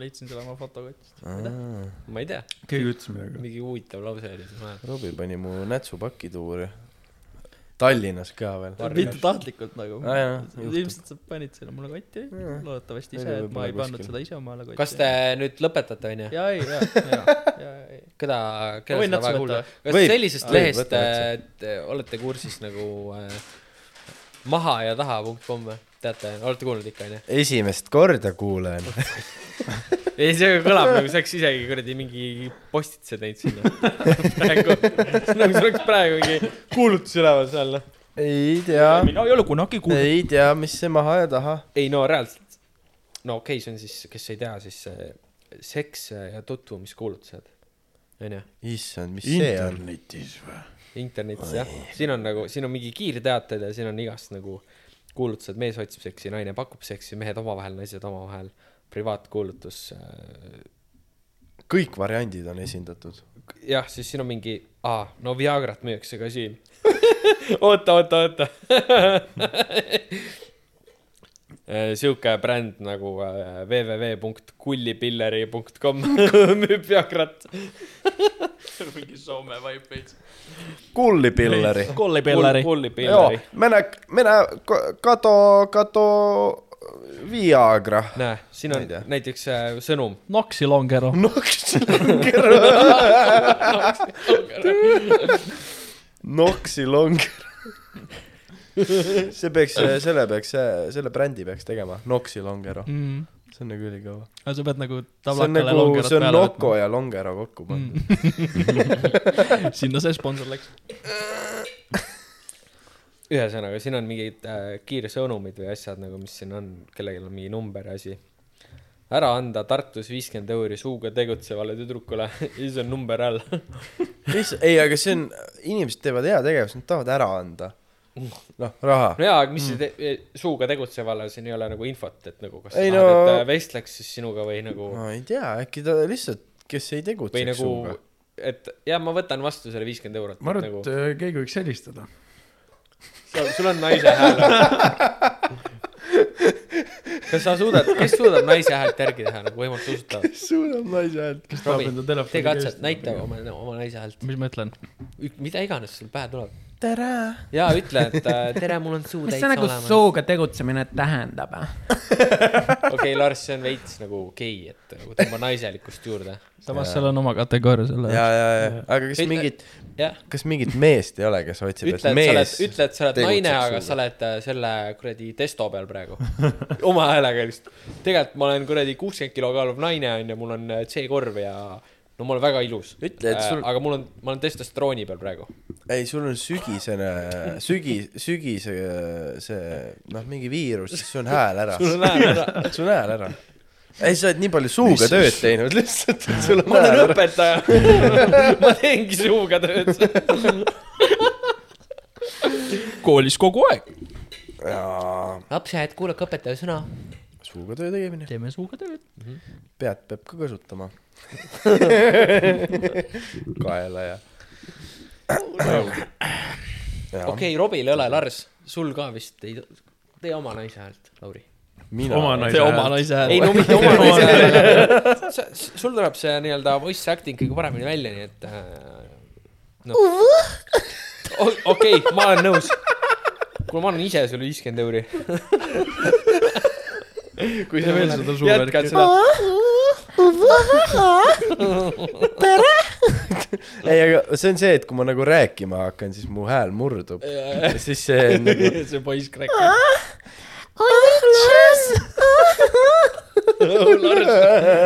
[SPEAKER 2] leidsin selle oma fotokotist .
[SPEAKER 3] ma ei tea ,
[SPEAKER 1] keegi ütles midagi .
[SPEAKER 3] mingi huvitav lause oli siis vahepeal .
[SPEAKER 4] Robbie pani mu nätsupaki tuuri . Tallinnas ka veel .
[SPEAKER 2] mitte tahtlikult nagu .
[SPEAKER 4] Aa, jaa, juhtub.
[SPEAKER 2] ilmselt sa panid selle mulle kotti , loodetavasti ise , et ma ei
[SPEAKER 4] Võib-olla
[SPEAKER 2] pannud
[SPEAKER 4] kuskil.
[SPEAKER 2] seda ise omale kotti .
[SPEAKER 3] kas te nüüd lõpetate onju ?
[SPEAKER 2] jaa , ei , jaa , jaa , jaa , ei .
[SPEAKER 3] keda ,
[SPEAKER 2] ma
[SPEAKER 3] keda
[SPEAKER 2] võin
[SPEAKER 3] seda
[SPEAKER 2] natsu
[SPEAKER 3] vaja kuulda
[SPEAKER 2] võtta ?
[SPEAKER 3] kas
[SPEAKER 4] Võib.
[SPEAKER 3] sellisest
[SPEAKER 4] Võib,
[SPEAKER 3] lehest
[SPEAKER 4] võta
[SPEAKER 3] äh, te olete kursis nagu äh, maha ja taha punkt kom või ? teate , olete kuulnud ikka onju ?
[SPEAKER 4] esimest korda kuulen .
[SPEAKER 3] ei , see kõlab nagu see oleks isegi kuradi mingi postitse teinud sinna . praegu , nagu see oleks praegu mingi kuulutus üleval seal noh .
[SPEAKER 4] ei tea .
[SPEAKER 2] mina ei ole kunagi kuulnud .
[SPEAKER 4] ei tea , mis see maha ja taha .
[SPEAKER 3] ei no reaalselt . no okei okay, , see on siis , kes ei tea , siis äh, seks ja tutvumiskuulutused onju
[SPEAKER 4] issand , mis see on ?
[SPEAKER 1] internetis või ?
[SPEAKER 3] internetis jah , siin on nagu , siin on mingi kiirteated ja siin on igast nagu kuulutused , mees otsib seksi , naine pakub seksi , mehed omavahel , naised omavahel , privaatkuulutus . äh,
[SPEAKER 4] kõik variandid on esindatud .
[SPEAKER 3] jah , siis siin on mingi , aa , no Viagrat müüakse ka siin . oota , oota , oota . sihuke bränd nagu äh, www.kullipilleri.com müüb Viagrat .
[SPEAKER 2] mingi Soome vibe veits .
[SPEAKER 4] kullipilleri .
[SPEAKER 2] kollipelleri .
[SPEAKER 4] joo
[SPEAKER 3] kullipilleri ,,
[SPEAKER 4] mene , mene , kado , kado , Viagra .
[SPEAKER 3] näe , siin
[SPEAKER 4] Ma ei
[SPEAKER 3] on
[SPEAKER 4] tea.
[SPEAKER 3] näiteks äh, sõnum
[SPEAKER 2] Noksi longero .
[SPEAKER 4] noksilongero . noksilongero . see peaks , selle peaks , selle brändi peaks tegema , noksilongero .
[SPEAKER 2] aga
[SPEAKER 4] see on nagu ülikõva .
[SPEAKER 2] Mm. sa pead nagu
[SPEAKER 4] see on
[SPEAKER 2] tablakale
[SPEAKER 4] nagu ,
[SPEAKER 2] longerot
[SPEAKER 4] see on
[SPEAKER 2] peale
[SPEAKER 4] noko
[SPEAKER 2] võtma .
[SPEAKER 4] ja longero kokku pandud .
[SPEAKER 2] sinna see sponsor läks .
[SPEAKER 3] ühesõnaga , siin on mingid äh, kiirsõnumid või asjad nagu , mis siin on , kellelgi on mingi number ja asi . ära anda Tartus viiskümmend euri suuga tegutsevale tüdrukule ja siis on number all .
[SPEAKER 4] lihtsalt , ei , aga see on , inimesed teevad heategevust , nad tahavad ära anda . noh , raha .
[SPEAKER 3] no jaa , aga
[SPEAKER 1] Mm.
[SPEAKER 3] mis see te- , suuga tegutsevale , siin ei ole nagu infot , et nagu kas sa
[SPEAKER 4] Ei
[SPEAKER 3] tahad no... , et
[SPEAKER 4] no-
[SPEAKER 3] äh, vestleks siis sinuga või nagu ,
[SPEAKER 4] ma ei tea , äkki ta lihtsalt , kes ei tegutse
[SPEAKER 3] või nagu , et jaa , ma võtan vastu selle viiskümmend eurot .
[SPEAKER 1] ma arvan ,
[SPEAKER 3] nagu,
[SPEAKER 1] et äh, keegi võiks helistada .
[SPEAKER 3] sul, sul on naise hääl . kas sa suudad , kes suudab naise häält järgi teha nagu võimalikult usutavalt ?
[SPEAKER 4] suudab naise häält .
[SPEAKER 1] kes tahab enda
[SPEAKER 3] tee
[SPEAKER 1] telefoni
[SPEAKER 3] katset , näita . oma , oma naise häält .
[SPEAKER 2] mis ma ütlen ?
[SPEAKER 3] Ük- mida iganes sul pähe tuleb .
[SPEAKER 4] tere .
[SPEAKER 3] ja ütle , et äh, tere , mul on suu
[SPEAKER 6] mis
[SPEAKER 3] täitsa
[SPEAKER 6] see nagu
[SPEAKER 3] olemas .
[SPEAKER 6] suuga tegutsemine tähendab ?
[SPEAKER 3] okei , Lars , see on veits nagu gei , et nagu tõmba naiselikkust juurde .
[SPEAKER 2] samas seal on oma kategooria selle
[SPEAKER 4] ja ,
[SPEAKER 2] jaoks .
[SPEAKER 4] ja , ja , aga kas
[SPEAKER 3] Ütle-
[SPEAKER 4] mingit ,
[SPEAKER 3] jah ,
[SPEAKER 4] kas mingit meest ei ole , kes otsib ,
[SPEAKER 3] ütle , et
[SPEAKER 4] et
[SPEAKER 3] sa oled
[SPEAKER 4] mees ,,
[SPEAKER 3] ütle , et sa oled
[SPEAKER 4] tegutseb
[SPEAKER 3] naine , aga
[SPEAKER 4] suuga.
[SPEAKER 3] sa oled äh, selle kuradi testo peal praegu . oma häälega lihtsalt . tegelikult ma olen kuradi kuuskümmend kilo kaaluv naine onju , mul on äh, C-korv ja no ma olen väga ilus .
[SPEAKER 4] Ütle, et sul-
[SPEAKER 3] aga mul on , ma olen testosterooni peal praegu .
[SPEAKER 4] ei , sul on sügisene , sügi , sügise see , noh , mingi viirus , siis sul on hääl ära .
[SPEAKER 3] sul on hääl ära .
[SPEAKER 4] sul on hääl ära . ei , sa oled nii palju suuga tööd teinud lihtsalt , et sul on
[SPEAKER 3] ma
[SPEAKER 4] hääl
[SPEAKER 3] olen
[SPEAKER 4] ära .
[SPEAKER 3] õpetaja . ma teengi suuga tööd .
[SPEAKER 2] koolis kogu aeg .
[SPEAKER 3] lapsed , kuulake õpetaja sõna .
[SPEAKER 4] suuga töö tegemine ,
[SPEAKER 2] teeme suuga tööd .
[SPEAKER 4] pead peab ka kasutama . kaela ja .
[SPEAKER 3] okei okay, , Robil ei ole , Lars , sul ka vist ei , tee oma naise häält , Lauri .
[SPEAKER 4] mina
[SPEAKER 1] Oma naise
[SPEAKER 2] tee oma
[SPEAKER 1] häält.
[SPEAKER 2] naise
[SPEAKER 3] ei
[SPEAKER 2] hääle .
[SPEAKER 3] no mitte oma naise häält . sul tuleb see nii-öelda voice acting kõige paremini välja , nii et äh, noh .
[SPEAKER 4] Uhh.
[SPEAKER 3] okei , ma olen nõus . kuule , ma annan ise sulle viiskümmend euri .
[SPEAKER 1] kui sa veel seda
[SPEAKER 3] jätkad
[SPEAKER 1] suuvärki .
[SPEAKER 3] seda .
[SPEAKER 4] ei , aga see on see , et kui ma nagu rääkima hakkan , siis mu hääl murdub . siis see on nagu ,
[SPEAKER 3] see poiss kräkib . Lars ,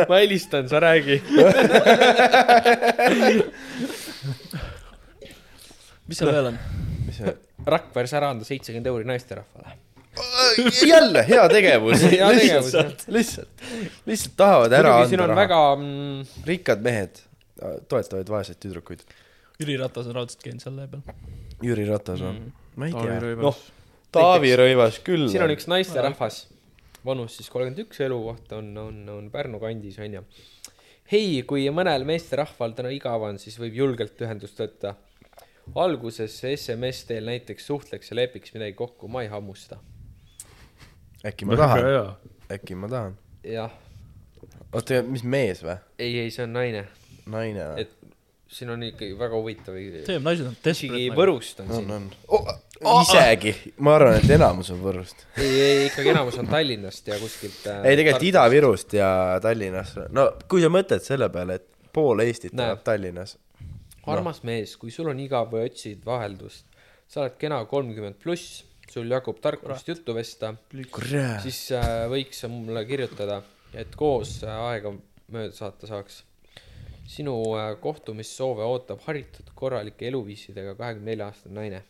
[SPEAKER 3] ma helistan , sa räägi .
[SPEAKER 2] mis seal veel on ?
[SPEAKER 4] mis see
[SPEAKER 3] Rakveres ära anda seitsekümmend euri naisterahvale .
[SPEAKER 4] on . jälle hea tegevus .
[SPEAKER 3] Hea tegevus, jah.
[SPEAKER 4] lihtsalt , lihtsalt , lihtsalt tahavad ära
[SPEAKER 3] muidugi siin
[SPEAKER 4] anda
[SPEAKER 3] on
[SPEAKER 4] raha väga... .
[SPEAKER 3] väga mm,
[SPEAKER 4] rikkad mehed äh, toetavad vaeseid tüdrukuid .
[SPEAKER 2] Jüri Ratas on raudselt käinud seal lehe peal .
[SPEAKER 4] Jüri Ratas on mm. . ma ei
[SPEAKER 1] Taavi
[SPEAKER 4] tea .
[SPEAKER 3] Noh,
[SPEAKER 1] Rõivas .
[SPEAKER 4] Taavi Rõivas küll .
[SPEAKER 3] siin on üks naisterahvas , vanus siis kolmkümmend üks , elukoht on , on , on Pärnu kandis , onju . hei , kui mõnel meesterahval täna igav on , siis võib julgelt ühendust võtta . alguses SMS teel näiteks suhtleks ja lepiks midagi kokku , ma ei hammusta .
[SPEAKER 4] äkki ma
[SPEAKER 1] väga
[SPEAKER 4] tahan ,
[SPEAKER 1] hea .
[SPEAKER 4] äkki ma tahan .
[SPEAKER 3] jah ,
[SPEAKER 4] oota , mis mees või ?
[SPEAKER 3] ei , ei , see on naine ,
[SPEAKER 4] naine või ?
[SPEAKER 3] et siin on ikkagi väga huvitav .
[SPEAKER 2] see , naised on
[SPEAKER 3] isegi
[SPEAKER 2] desperate . nagu.
[SPEAKER 3] Võrust on siin
[SPEAKER 4] on ,. on oh, . isegi , ma arvan , et enamus on Võrust .
[SPEAKER 3] ei , ei ikkagi enamus on Tallinnast ja kuskilt . äh,
[SPEAKER 4] ei , tegelikult . Ida-Virust ja Tallinnast . no kui sa mõtled selle peale , et pool Eestit
[SPEAKER 3] Näe.
[SPEAKER 4] elab Tallinnas .
[SPEAKER 3] armas mees , kui sul on igav või otsid vaheldust , sa oled kena kolmkümmend pluss , sul jagub tarkust juttu vesta ,
[SPEAKER 4] kurat .
[SPEAKER 3] siis äh, võiks sa mulle kirjutada , et koos äh, aega mööda saata saaks . sinu äh, kohtumissoove ootab haritud korralike eluviisidega kahekümne nelja aastane naine .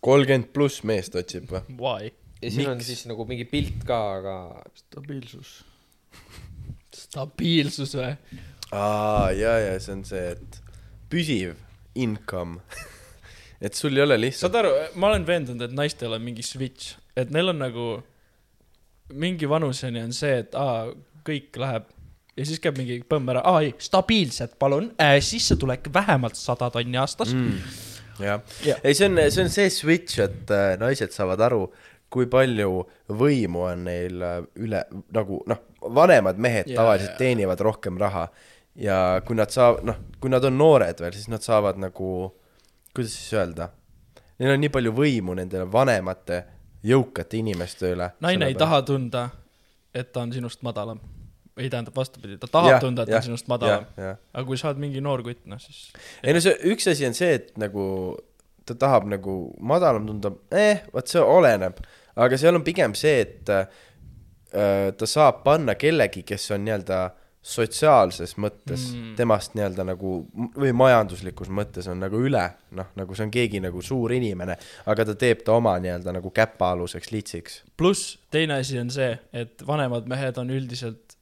[SPEAKER 4] kolmkümmend pluss meest otsib või ?
[SPEAKER 2] Why ?
[SPEAKER 3] ja siin Miks? on siis nagu mingi pilt ka , aga
[SPEAKER 1] stabiilsus .
[SPEAKER 2] stabiilsus või ?
[SPEAKER 4] aa , ja , ja see on see , et püsiv income . et sul ei ole lihtsalt
[SPEAKER 2] saad aru , ma olen veendunud , et naistel on mingi switch , et neil on nagu mingi vanuseni on see , et aa , kõik läheb ja siis käib mingi põmm ära , aa ei , stabiilselt palun äh, , sissetulek vähemalt sada tonni aastas mm. .
[SPEAKER 4] jah
[SPEAKER 2] Jah. ,
[SPEAKER 4] ei , see on , see on see switch , et äh, naised saavad aru , kui palju võimu on neil äh, üle , nagu noh , vanemad mehed
[SPEAKER 2] Jaa,
[SPEAKER 4] yeah, tavaliselt yeah. teenivad rohkem raha ja kui nad saavad , noh , kui nad on noored veel , siis nad saavad nagu , kuidas siis öelda , neil on nii palju võimu nendele vanemate jõukate inimeste üle .
[SPEAKER 2] naine ei . taha tunda , et ta on sinust madalam . ei tähendab vastupidi , ta tahab ja, tunda , et ta on sinust madalam . aga kui sa oled mingi noor kutt , noh siis
[SPEAKER 4] ei no see üks asi on see , et nagu ta tahab nagu madalam tunda , eh , vot see oleneb , aga seal on pigem see , et äh, ta saab panna kellegi , kes on nii-öelda sotsiaalses mõttes mm. temast nii-öelda nagu või majanduslikus mõttes on nagu üle , noh , nagu see on keegi nagu suur inimene , aga ta teeb ta oma nii-öelda nagu käpaaluseks litsiks .
[SPEAKER 2] pluss teine asi on see , et vanemad mehed on üldiselt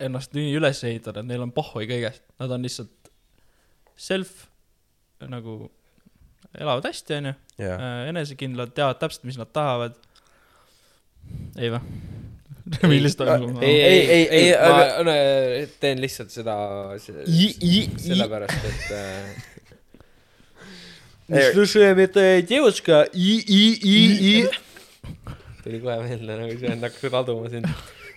[SPEAKER 2] ennast nii üles ehitanud , neil on pohhui kõigest , nad on lihtsalt self nagu elavad hästi , onju ,
[SPEAKER 4] jah ,
[SPEAKER 2] enesekindlad , teavad täpselt , mis nad tahavad . ei vä ? millist on
[SPEAKER 3] ei ,
[SPEAKER 2] sul ?
[SPEAKER 3] ei , ei , ei, ei ,
[SPEAKER 4] ei,
[SPEAKER 3] ma aga... no, teen lihtsalt seda se- sellepärast , et äh,
[SPEAKER 4] Эй.
[SPEAKER 5] слушаем, это девушка и-и-и-и.
[SPEAKER 3] tuli kohe meelde , nagu see on , hakkas aduma sind .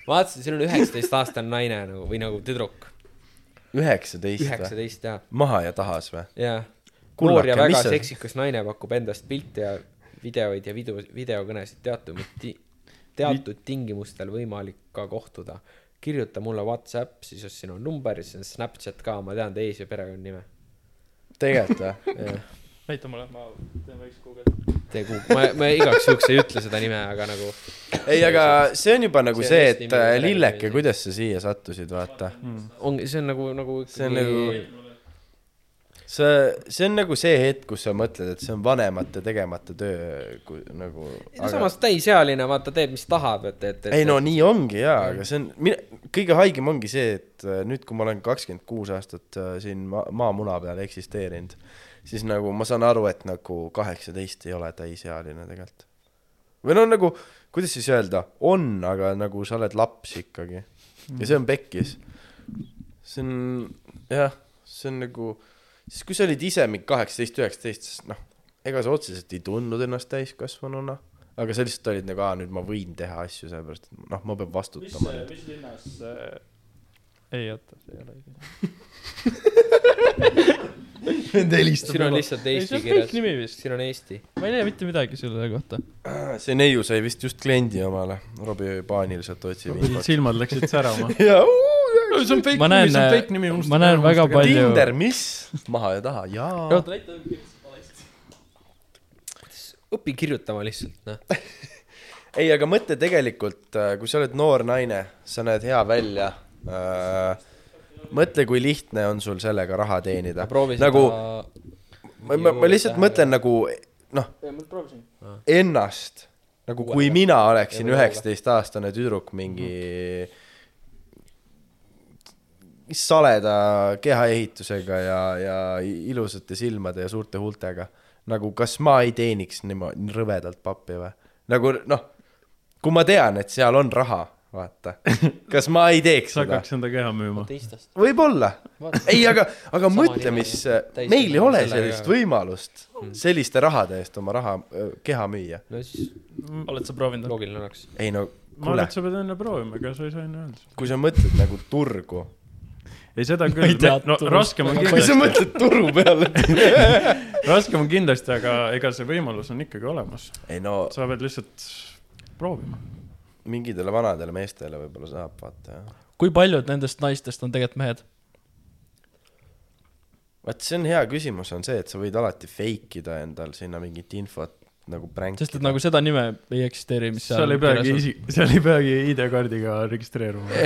[SPEAKER 3] vaatasin , siin on üheksateistaastane naine nagu või nagu tüdruk ,
[SPEAKER 4] üheksateist või ?
[SPEAKER 3] üheksateist ja ,
[SPEAKER 4] maha ja tahas või ?
[SPEAKER 3] ja noor ja
[SPEAKER 4] kullake,
[SPEAKER 3] väga
[SPEAKER 4] mis sa ,
[SPEAKER 3] seksikas naine pakub endast pilte ja videoid ja video , videokõnesid teatud ti- , teatud tingimustel võimalik ka kohtuda . kirjuta mulle Whatsapp , siis on sinu number , siis on Snapchat ka , ma tean teie ise perekonnanime .
[SPEAKER 4] tegelikult või ?
[SPEAKER 2] näita mulle , ma teen väikse guugelduse .
[SPEAKER 3] Te kuhu , ma , ma igaks juhuks ei ütle seda nime , aga nagu
[SPEAKER 4] ei , aga see on juba nagu
[SPEAKER 3] See on
[SPEAKER 4] see ,
[SPEAKER 3] Eesti
[SPEAKER 4] et
[SPEAKER 3] nimi,
[SPEAKER 4] äh,
[SPEAKER 3] perekonnanimi.
[SPEAKER 4] lilleke , kuidas sa siia sattusid , vaata .
[SPEAKER 3] ongi , see on nagu , nagu
[SPEAKER 4] see on nagu , see , see on nagu see hetk , kus sa mõtled , et see on vanemate tegemata töö , kui nagu .
[SPEAKER 3] ei no samas täisealine , vaata , teeb , mis tahab , et , et , et
[SPEAKER 4] ei no nii ongi jaa , aga see on , mina , kõige haigem ongi see , et äh, nüüd , kui ma olen kakskümmend kuus aastat äh, siin ma- , maamuna peal eksisteerinud , siis nagu ma saan aru , et nagu kaheksateist ei ole täisealine tegelikult . või no nagu , kuidas siis öelda , on , aga nagu sa oled laps ikkagi . ja
[SPEAKER 1] Mhm.
[SPEAKER 4] see on pekkis . see on , jah , see on nagu , siis kui sa olid ise mingi kaheksateist , üheksateist , siis noh , ega sa otseselt ei tundnud ennast täiskasvanuna aga sa lihtsalt olid nagu , aa nüüd ma võin teha asju , sellepärast et noh , ma pean vastutama nüüd .
[SPEAKER 2] mis linnas äh... ? ei oota , see ei ole õige .
[SPEAKER 4] Nende helistab
[SPEAKER 3] siin on lihtsalt
[SPEAKER 2] ei , see
[SPEAKER 3] Eesti
[SPEAKER 2] on
[SPEAKER 3] kirjas
[SPEAKER 2] fake , nimi vist .
[SPEAKER 3] siin on Eesti .
[SPEAKER 2] ma ei leia mitte midagi selle kohta .
[SPEAKER 4] see neiu sai vist just kliendi omale , Robbie paaniliselt otsib infot .
[SPEAKER 1] silmad läksid särama .
[SPEAKER 4] jaa ,
[SPEAKER 1] see on
[SPEAKER 2] ma
[SPEAKER 1] fake nimi ,
[SPEAKER 2] näen
[SPEAKER 1] see on fake nimi ,,
[SPEAKER 2] ma näen väga palju .
[SPEAKER 4] Tinder , mis ? maha ja taha , jaa .
[SPEAKER 2] oota , näita üks valesti .
[SPEAKER 3] õpi kirjutama lihtsalt , noh .
[SPEAKER 4] ei , aga mõtle tegelikult , kui sa oled noor naine , sa näed hea välja äh, . mõtle , kui lihtne on sul sellega raha teenida .
[SPEAKER 3] proovi seda
[SPEAKER 4] nagu , ma , ma , ma lihtsalt mõtlen nagu noh , ennast , nagu kui mina oleksin
[SPEAKER 3] Ei, või
[SPEAKER 4] üheksateistaastane tüdruk mingi saleda kehaehitusega ja , ja ilusate silmade ja suurte huultega . nagu kas ma ei teeniks niimoodi rõvedalt pappi või ? nagu noh , kui ma tean , et seal on raha , vaata , kas ma ei teeks
[SPEAKER 1] sa
[SPEAKER 4] seda ?
[SPEAKER 1] hakkaks enda keha müüma .
[SPEAKER 3] teistest .
[SPEAKER 4] võib-olla , ei , aga , aga
[SPEAKER 3] Sama
[SPEAKER 4] mõtle ,
[SPEAKER 3] nime,
[SPEAKER 4] mis
[SPEAKER 3] jah. , Täis
[SPEAKER 4] meil ei
[SPEAKER 3] nime,
[SPEAKER 4] ole
[SPEAKER 3] sellega- Hmm.
[SPEAKER 4] sellist võimalust selliste rahade eest oma raha , keha müüa .
[SPEAKER 3] no siis
[SPEAKER 2] oled sa proovinud ?
[SPEAKER 3] loogiline oleks .
[SPEAKER 4] ei no
[SPEAKER 1] ma arvan ,
[SPEAKER 4] kuule
[SPEAKER 1] et , sa pead enne proovima , ega sa ei saa enne öelda .
[SPEAKER 4] kui sa mõtled nagu turgu .
[SPEAKER 1] ei , seda
[SPEAKER 2] Ma ei
[SPEAKER 1] küll
[SPEAKER 2] tea, ,
[SPEAKER 1] no
[SPEAKER 2] tundub-
[SPEAKER 1] raskem on
[SPEAKER 4] kui sa
[SPEAKER 1] kindlasti ,
[SPEAKER 4] mõtled turu peale .
[SPEAKER 1] raskem on kindlasti , aga ega see võimalus on ikkagi olemas .
[SPEAKER 4] ei no
[SPEAKER 1] sa pead lihtsalt proovima .
[SPEAKER 4] mingitele vanadele meestele võib-olla saab vaata jah .
[SPEAKER 2] kui paljud nendest naistest on tegelikult mehed ?
[SPEAKER 4] vaat see on hea küsimus , on see , et sa võid alati fake ida endal sinna mingit infot nagu
[SPEAKER 2] sest
[SPEAKER 4] pränkida
[SPEAKER 2] et . nagu seda nime ei eksisteeri , mis seal .
[SPEAKER 1] seal ei peagi . isik , seal ei peagi ID-kaardiga registreeruma .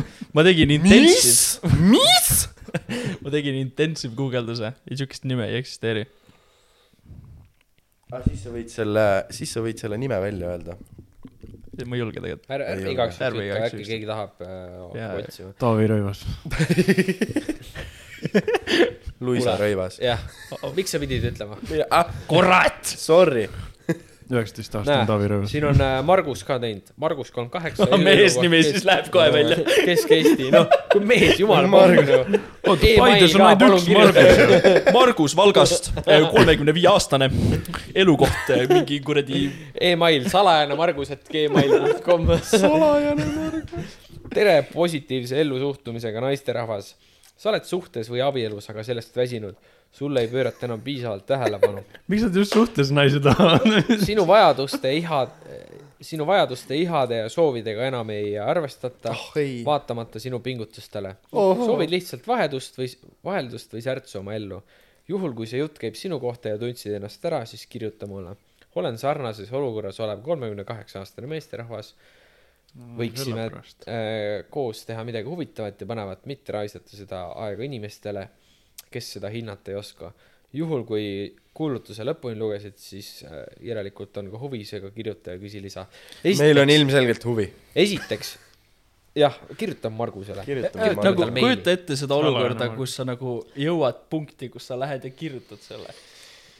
[SPEAKER 2] ma tegin intensiiv ,
[SPEAKER 4] mis , mis ?
[SPEAKER 2] ma tegin intensiiv guugelduse ja siukest nime ei eksisteeri .
[SPEAKER 4] aga Ah, siis sa võid selle , siis sa võid selle nime välja öelda .
[SPEAKER 2] ma ei julge tegelikult .
[SPEAKER 3] ära
[SPEAKER 4] Ei ole.
[SPEAKER 3] igaks juhuks
[SPEAKER 2] Ärme
[SPEAKER 3] ütle ,
[SPEAKER 2] igaks
[SPEAKER 3] äkki
[SPEAKER 2] juhuks.
[SPEAKER 3] keegi tahab äh,
[SPEAKER 2] Jaa.
[SPEAKER 3] otsima .
[SPEAKER 1] Taavi Rõivas .
[SPEAKER 4] Luisa
[SPEAKER 3] Kuule.
[SPEAKER 4] Rõivas .
[SPEAKER 3] jah , miks sa pidid ütlema ?
[SPEAKER 4] kurat . Sorry .
[SPEAKER 1] üheksateist aastane Taavi
[SPEAKER 3] näe ,
[SPEAKER 1] Rõivas .
[SPEAKER 3] siin on äh, Margus ka teinud , Margus kolm kaheksa
[SPEAKER 2] Ah, . mees nimi, siis läheb kohe välja. .
[SPEAKER 3] Kesk-Eesti , noh , kui mees , jumal pangu .
[SPEAKER 1] oota , Paides on ainult üks Margus .
[SPEAKER 2] Margus Valgast , kolmekümne viie aastane , elukoht eh, mingi kuradi .
[SPEAKER 3] email salajane margus , et gmail.com . salajane margus . tere positiivse ellusuhtumisega naisterahvas . sa oled suhtes või abielus , aga sellest väsinud . sulle ei pöörata enam piisavalt tähelepanu .
[SPEAKER 1] miks nad just suhtes naisi
[SPEAKER 2] Nagu,
[SPEAKER 1] tahavad ?
[SPEAKER 3] sinu vajaduste ihad , sinu vajaduste ihade ja soovidega enam ei arvestata
[SPEAKER 4] Oh, ei.
[SPEAKER 3] vaatamata sinu pingutustele . soovid lihtsalt vahedust või , vaheldust või särtsu oma ellu . juhul , kui see jutt käib sinu kohta ja tundsid ennast ära , siis kirjuta mulle . olen sarnases olukorras olev kolmekümne kaheksa aastane meesterahvas . võiksime
[SPEAKER 1] sellepärast.
[SPEAKER 3] äh, koos teha midagi huvitavat ja põnevat , mitte raisata seda aega inimestele , kes seda hinnata ei oska . juhul , kui kuulutuse lõpuni lugesid , siis äh, järelikult on ka huvi , seega kirjuta ja küsi lisa .
[SPEAKER 4] meil on ilmselgelt huvi .
[SPEAKER 3] esiteks , jah , kirjutan Margusele .
[SPEAKER 4] Kirjutame
[SPEAKER 2] nagu
[SPEAKER 4] Margusele.
[SPEAKER 2] kujuta ette seda
[SPEAKER 1] Salajane
[SPEAKER 2] olukorda ,
[SPEAKER 1] Margus.
[SPEAKER 2] kus sa nagu jõuad punkti , kus sa lähed ja kirjutad selle .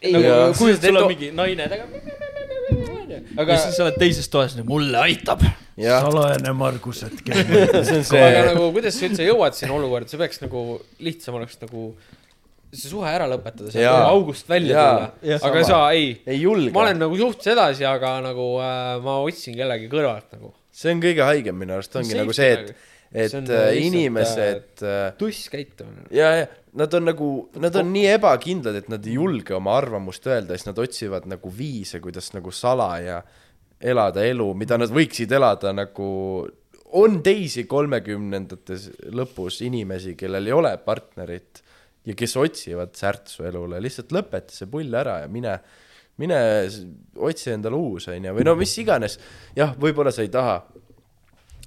[SPEAKER 3] Ei,
[SPEAKER 2] nagu
[SPEAKER 4] jaa.
[SPEAKER 2] kujutad , sul
[SPEAKER 3] Sest et-
[SPEAKER 2] on mingi naine taga . aga
[SPEAKER 3] Aga- nagu,
[SPEAKER 2] ja siis sa oled teises toas , mulle aitab .
[SPEAKER 4] jah ,
[SPEAKER 1] salajane Margus , et kes .
[SPEAKER 4] see on
[SPEAKER 3] see... . aga
[SPEAKER 4] see ,
[SPEAKER 3] nagu , kuidas sa üldse jõuad sinna olukorda , see peaks nagu lihtsam oleks nagu see suhe ära lõpetada , sa
[SPEAKER 4] Jaa.
[SPEAKER 3] pead august välja
[SPEAKER 4] Jaa.
[SPEAKER 3] tulla
[SPEAKER 4] Jah, ,
[SPEAKER 3] aga
[SPEAKER 4] sama.
[SPEAKER 3] sa ei,
[SPEAKER 4] ei julge .
[SPEAKER 3] ma olen nagu suhtes edasi , aga nagu äh, ma otsin kellegi kõrvalt nagu .
[SPEAKER 4] see on kõige haigem minu arust ongi
[SPEAKER 3] See
[SPEAKER 4] nagu
[SPEAKER 3] on
[SPEAKER 4] see ,
[SPEAKER 3] safety
[SPEAKER 4] et , et
[SPEAKER 3] See on nagu
[SPEAKER 4] äh,
[SPEAKER 3] lihtsalt,
[SPEAKER 4] inimesed äh,
[SPEAKER 3] tuss käitumine .
[SPEAKER 4] ja , ja nad on nagu , nad on nii ebakindlad , et nad ei julge oma arvamust öelda , siis nad otsivad nagu viise , kuidas nagu salaja elada elu , mida nad võiksid elada nagu , on teisi kolmekümnendates lõpus inimesi , kellel ei ole partnerit ja kes otsivad särtsu elule , lihtsalt lõpeta see pull ära ja mine , mine s- otsi endale uus , onju , või no mis iganes , jah , võib-olla sa ei taha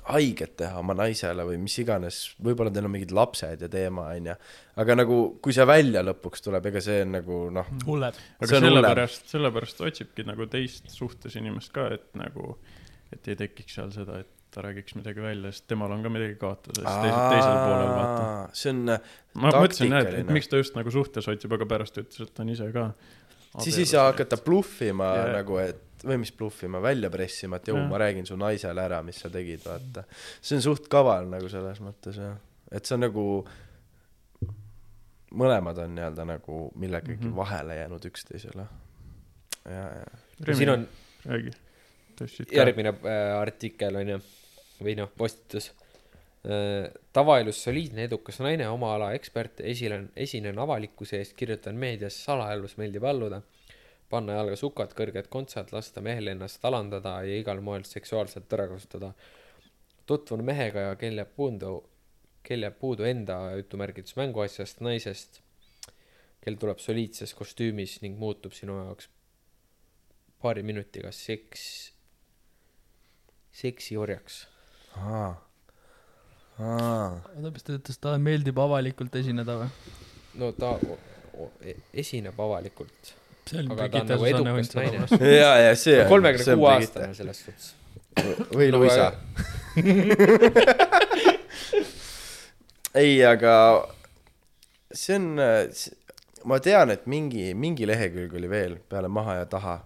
[SPEAKER 4] haiget teha oma naisele või mis iganes , võib-olla teil on mingid lapsed ja teema , onju . aga nagu , kui see välja lõpuks tuleb , ega see on nagu noh ,
[SPEAKER 1] Hmm.
[SPEAKER 2] hullem .
[SPEAKER 1] aga
[SPEAKER 4] See on hullem.
[SPEAKER 1] sellepärast , sellepärast otsibki nagu teist suhtes inimest ka , et nagu , et ei tekiks seal seda , et ta räägiks midagi välja , sest temal on ka midagi kaotada , siis teised teisel poolel vaata .
[SPEAKER 4] see on ,
[SPEAKER 1] ma mõtlesin , et , et
[SPEAKER 4] taktikaline.
[SPEAKER 1] miks ta just nagu suhtes otsib , aga pärast ütles , et ta on ise ka .
[SPEAKER 4] siis ei saa . hakata bluffima
[SPEAKER 1] Jaa.
[SPEAKER 4] yeah. nagu , et või mis bluffima , välja pressima , et jõu
[SPEAKER 1] Jah.
[SPEAKER 4] yeah. , ma räägin su naisele ära , mis sa tegid , vaata . see on suht kaval nagu selles mõttes jah , et see on nagu , mõlemad on nii-öelda nagu millegagi mm
[SPEAKER 1] Mhm.
[SPEAKER 4] -hmm. vahele jäänud üksteisele . ja , ja ,
[SPEAKER 3] siin on
[SPEAKER 1] räägi . tõstsid ka .
[SPEAKER 3] järgmine äh, artikkel onju , või noh , postitus . tavaelus soliidne edukas naine , oma ala ekspert , esinen , esinen avalikkuse eest , kirjutan meedias , salaelus meeldib alluda , panna jalga sukad , kõrged kontsad , lasta mehel ennast alandada ja igal moel seksuaalselt ära kasutada . tutvun mehega , kel jääb puudu , kel jääb puudu enda jutumärgides mänguasjast , naisest , kel tuleb soliidses kostüümis ning muutub sinu jaoks paari minutiga seks , seksiorjaks .
[SPEAKER 4] aa , aa
[SPEAKER 2] oota , mis ta ütles , talle meeldib avalikult esineda või ?
[SPEAKER 3] no ta o- o- e- esineb avalikult ,
[SPEAKER 2] see on
[SPEAKER 3] aga ta on nagu edukas naine .
[SPEAKER 4] ja , ja see on .
[SPEAKER 3] kolmekümne kuue aastane selles suhtes .
[SPEAKER 4] või
[SPEAKER 3] No
[SPEAKER 4] Luisa . ei , aga see on , ma tean , et mingi , mingi lehekülg oli veel peale maha ja taha ,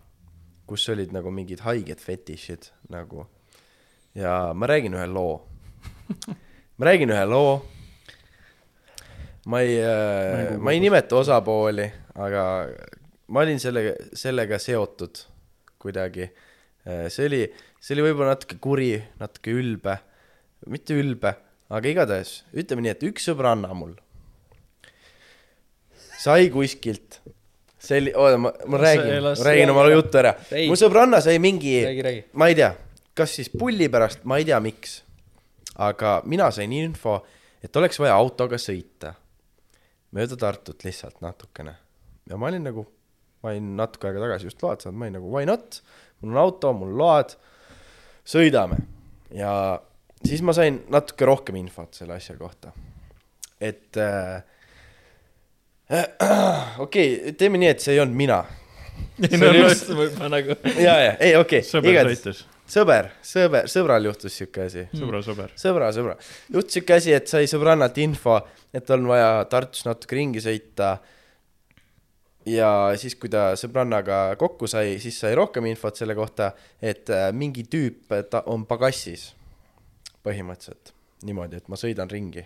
[SPEAKER 4] kus olid nagu mingid haiged fetišid nagu . ja ma räägin ühe loo . ma räägin ühe loo . ma ei , ma ei nimeta osapooli , aga ma olin sellega , sellega seotud kuidagi . see oli , see oli võib-olla natuke kuri , natuke ülbe , mitte ülbe , aga igatahes ütleme nii , et üks sõbranna mul sai kuskilt selli- , oota , ma , ma räägin ,
[SPEAKER 2] las-
[SPEAKER 4] räägin oma juttu ära .
[SPEAKER 3] Ei.
[SPEAKER 4] mu sõbranna sai mingi ,
[SPEAKER 3] räägi , räägi .
[SPEAKER 4] ma ei tea , kas siis pulli pärast , ma ei tea , miks . aga mina sain info , et oleks vaja autoga sõita mööda Tartut lihtsalt natukene . ja ma olin nagu , ma olin natuke aega tagasi just load saanud , ma olin nagu why not , mul on auto , mul on load , sõidame . ja siis ma sain natuke rohkem infot selle asja kohta . et äh, äh, okei okay, , teeme nii , et see ei olnud mina .
[SPEAKER 2] ei no just , võib-olla nagu .
[SPEAKER 4] ja , ja , ei okei okay, ,
[SPEAKER 1] sõber
[SPEAKER 4] igatahes
[SPEAKER 1] sõitis ,
[SPEAKER 4] sõber , sõber , sõbral juhtus sihuke asi
[SPEAKER 2] Hmm.
[SPEAKER 1] sõbra sõber .
[SPEAKER 4] sõbra , sõbra . jutt sihuke asi , et sai sõbrannalt info , et on vaja Tartus natuke ringi sõita . ja siis , kui ta sõbrannaga kokku sai , siis sai rohkem infot selle kohta , et äh, mingi tüüp ta on pagassis . põhimõtteliselt niimoodi , et ma sõidan ringi .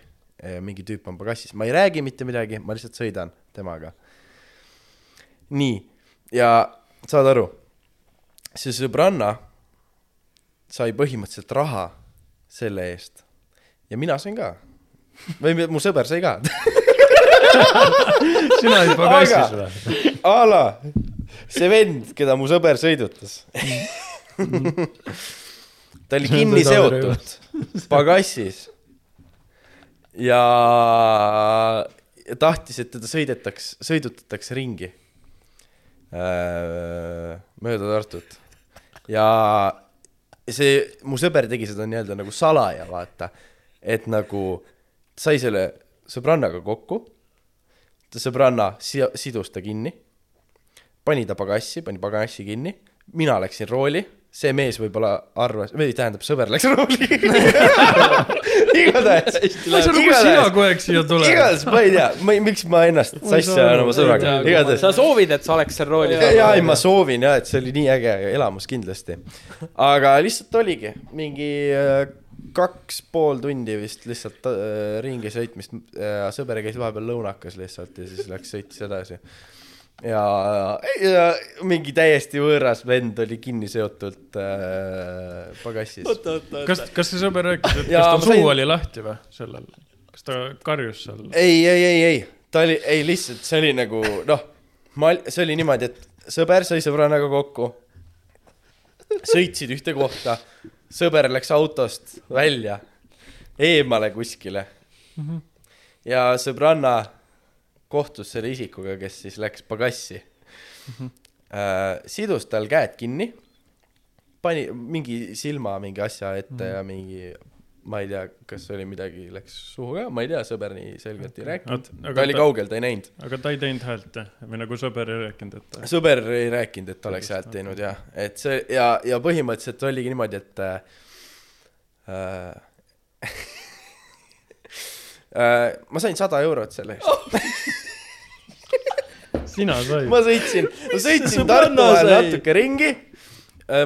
[SPEAKER 4] mingi tüüp on pagassis , ma ei räägi mitte midagi , ma lihtsalt sõidan temaga . nii , ja saad aru , see sõbranna sai põhimõtteliselt raha selle eest . ja mina sain ka . või mi- mu sõber sai ka .
[SPEAKER 1] sina olid pagassis või ?
[SPEAKER 4] a la see vend , keda mu sõber sõidutas . ta oli kinni seotud pagassis . ja ja tahtis , et teda sõidetaks , sõidutatakse ringi öö, mööda Tartut Äh, ja see , mu sõber tegi seda nii-öelda nagu salaja , vaata . et nagu sai selle sõbrannaga kokku , ta sõbranna si- , sidus ta kinni , pani ta pagassi , pani pagassi kinni , mina läksin rooli , see mees võib-olla arvas , või tähendab , sõber läks rooli . igatahes ,
[SPEAKER 2] ma ei saa aru , kus nagu sina
[SPEAKER 4] igatahes ,
[SPEAKER 2] kogu aeg siia tuled .
[SPEAKER 4] igatahes ma ei tea , ma ei , miks ma ennast sassi ajan oma sõbraga , igatahes .
[SPEAKER 3] sa soovid , et sa oleks seal roolis
[SPEAKER 4] ja , ja ei , ma soovin ja , et see oli nii äge elamus kindlasti . aga lihtsalt oligi mingi äh, kaks pool tundi vist lihtsalt äh, ringi sõitmist , sõber käis vahepeal lõunakas lihtsalt ja siis läks sõitis edasi . ja, ja mingi täiesti võõras vend oli kinni seotult äh, pagassis .
[SPEAKER 1] kas , kas see sõber rääkis , et kas
[SPEAKER 4] Jaa,
[SPEAKER 1] ta
[SPEAKER 4] ma
[SPEAKER 1] suu
[SPEAKER 4] sain-
[SPEAKER 1] oli lahti või sellel , kas ta karjus seal ?
[SPEAKER 4] ei , ei , ei , ei , ta oli , ei lihtsalt see oli nagu noh , ma , see oli niimoodi , et sõber sai sõbrannaga kokku . sõitsid ühte kohta , sõber läks autost välja , eemale kuskile . ja sõbranna kohtus selle isikuga , kes siis läks pagassi . sidus tal käed kinni , pani mingi silma mingi asja ette ja mingi ma ei tea , kas oli midagi , läks suhu ka , ma ei tea , sõber nii selgelt ei rääkinud , ta oli kaugel , ta ei näinud .
[SPEAKER 1] aga ta ei teinud häält jah , või nagu sõber ei rääkinud , et ta...
[SPEAKER 4] sõber ei rääkinud , et ta oleks häält teinud ja , et see ja , ja põhimõtteliselt oligi niimoodi , et äh, . Äh, ma sain sada eurot selle eest ,
[SPEAKER 1] sina said
[SPEAKER 4] ma sõitsin , ma sõitsin Tartu ajal natuke ringi .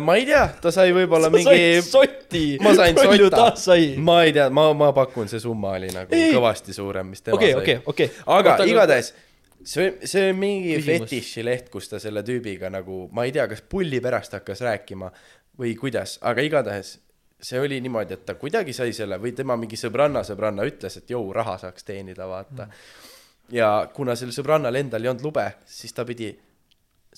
[SPEAKER 4] ma ei tea , ta sai võib-olla mingi ,
[SPEAKER 7] sotti .
[SPEAKER 4] ma sain
[SPEAKER 7] palju
[SPEAKER 4] sotta
[SPEAKER 7] ta sai ?
[SPEAKER 4] ma ei tea , ma , ma pakun , see summa oli nagu
[SPEAKER 7] Ei.
[SPEAKER 4] kõvasti suurem , mis tema
[SPEAKER 7] okei ,
[SPEAKER 4] sai
[SPEAKER 7] okei , okei .
[SPEAKER 4] aga
[SPEAKER 7] Oota,
[SPEAKER 4] Oota,
[SPEAKER 7] aga-
[SPEAKER 4] igatahes see , see on mingi
[SPEAKER 7] Küsimus.
[SPEAKER 4] fetišileht , kus ta selle tüübiga nagu , ma ei tea , kas pulli pärast hakkas rääkima või kuidas , aga igatahes see oli niimoodi , et ta kuidagi sai selle või tema mingi sõbranna sõbranna ütles , et jõu , raha saaks teenida , vaata . ja kuna sellel sõbrannal endal ei olnud lube , siis ta pidi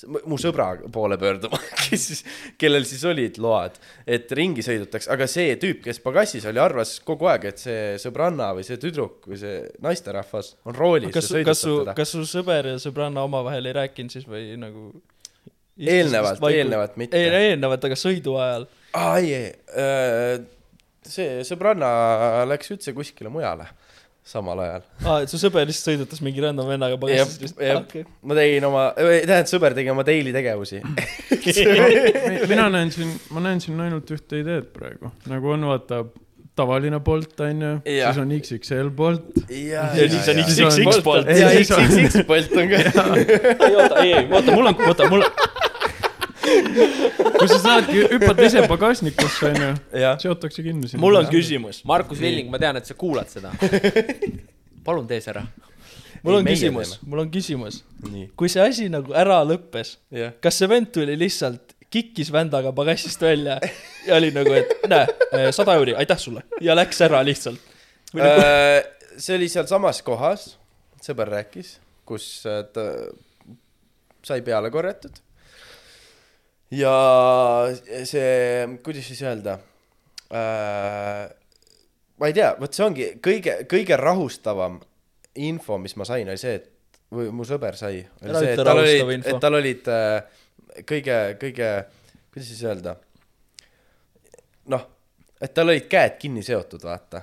[SPEAKER 4] mu- mu sõbra poole pöörduma , kes siis , kellel siis olid load , et ringi sõidutakse , aga see tüüp , kes pagassis oli , arvas kogu aeg , et see sõbranna või see tüdruk või see naisterahvas on roolis
[SPEAKER 2] kas
[SPEAKER 4] ja ,
[SPEAKER 2] kas
[SPEAKER 4] sõidutab
[SPEAKER 2] su
[SPEAKER 4] teda ,.
[SPEAKER 2] kas su sõber ja sõbranna omavahel ei rääkinud siis või nagu ?
[SPEAKER 4] eelnevalt , eelnevalt mitte .
[SPEAKER 2] ei , eelnevalt , aga sõidu ajal .
[SPEAKER 4] aa ei , ei , äh, see sõbranna läks üldse kuskile mujale samal ajal .
[SPEAKER 2] aa , et su sõber lihtsalt sõidutas mingi random vennaga pagassis
[SPEAKER 4] Jep,
[SPEAKER 2] lihtsalt
[SPEAKER 4] jep.
[SPEAKER 2] ah, okei.
[SPEAKER 4] ma tegin oma , tähendab , sõber tegi oma daily tegevusi .
[SPEAKER 1] mina näen siin , ma näen siin ainult ühte ideed praegu , nagu on vaata tavaline Bolt onju ,
[SPEAKER 4] Jah.
[SPEAKER 1] siis on XXL Bolt .
[SPEAKER 4] ja
[SPEAKER 7] ja siis on
[SPEAKER 1] siis on
[SPEAKER 7] XXX Bolt .
[SPEAKER 4] ja
[SPEAKER 1] siis on-
[SPEAKER 4] XXX Bolt on ka .
[SPEAKER 7] ei oota , ei , ei , oota , mul on , oota , mul on ,
[SPEAKER 1] kus sa saadki , hüppad ise pagasnikusse onju ,
[SPEAKER 4] jah ,
[SPEAKER 1] seotakse kinni sinna .
[SPEAKER 7] mul on küsimus .
[SPEAKER 3] Markus Villing , ma tean , et sa kuulad seda . palun tee see ära .
[SPEAKER 2] mul
[SPEAKER 4] Ei,
[SPEAKER 2] on
[SPEAKER 4] meie
[SPEAKER 2] küsimus , mul on küsimus .
[SPEAKER 4] nii ,
[SPEAKER 2] kui see asi nagu ära lõppes ,
[SPEAKER 4] jah .
[SPEAKER 2] kas see vend tuli lihtsalt , kikkis vändaga pagassist välja ja oli nagu , et näe , sada euri , aitäh sulle ja läks ära lihtsalt . Või nagu-
[SPEAKER 4] Äh, see oli sealsamas kohas , sõber rääkis , kus äh, ta sai peale korjatud . ja see , kuidas siis öelda äh, ? ma ei tea , vot see ongi kõige , kõige rahustavam info , mis ma sain , oli see , et või mu sõber sai , oli
[SPEAKER 2] Ära
[SPEAKER 4] see ,
[SPEAKER 2] ütle
[SPEAKER 4] et tal
[SPEAKER 2] rahustav
[SPEAKER 4] olid ,
[SPEAKER 2] info.
[SPEAKER 4] et tal olid äh, kõige , kõige , kuidas siis öelda noh , et tal olid käed kinni seotud , vaata .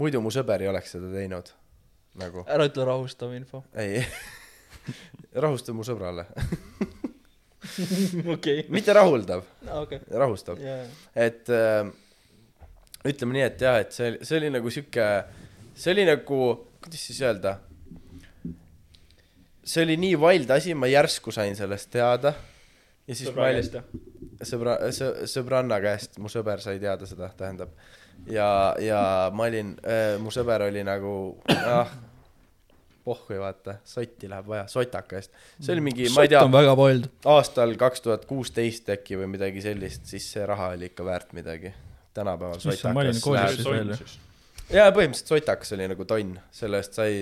[SPEAKER 4] muidu mu sõber ei oleks seda teinud . nagu ,
[SPEAKER 2] ära ütle rahustav info .
[SPEAKER 4] ei . rahusta mu sõbrale .
[SPEAKER 2] okei ,
[SPEAKER 4] mitte rahuldav ,
[SPEAKER 2] okei .
[SPEAKER 4] rahustav . et äh, ütleme nii , et jah , et see , see oli nagu sihuke , see oli nagu , kuidas siis öelda . see oli nii wild asi , ma järsku sain sellest teada . ja siis ma olin , sõbra , sõbranna käest , mu sõber sai teada seda , tähendab . ja , ja ma olin äh, , mu sõber oli nagu , ah , pohhui vaata , sotti läheb vaja , sotaka eest . see oli mingi , ma ei
[SPEAKER 2] sott
[SPEAKER 4] tea
[SPEAKER 2] on , väga pold .
[SPEAKER 4] aastal kaks tuhat kuusteist äkki või midagi sellist , siis see raha oli ikka väärt midagi . tänapäeval
[SPEAKER 2] Issand, ma olin
[SPEAKER 4] sotakas
[SPEAKER 2] koolis
[SPEAKER 4] läheb
[SPEAKER 2] siis . veel ju .
[SPEAKER 4] jaa , põhimõtteliselt sotakas oli nagu tonn , selle eest sai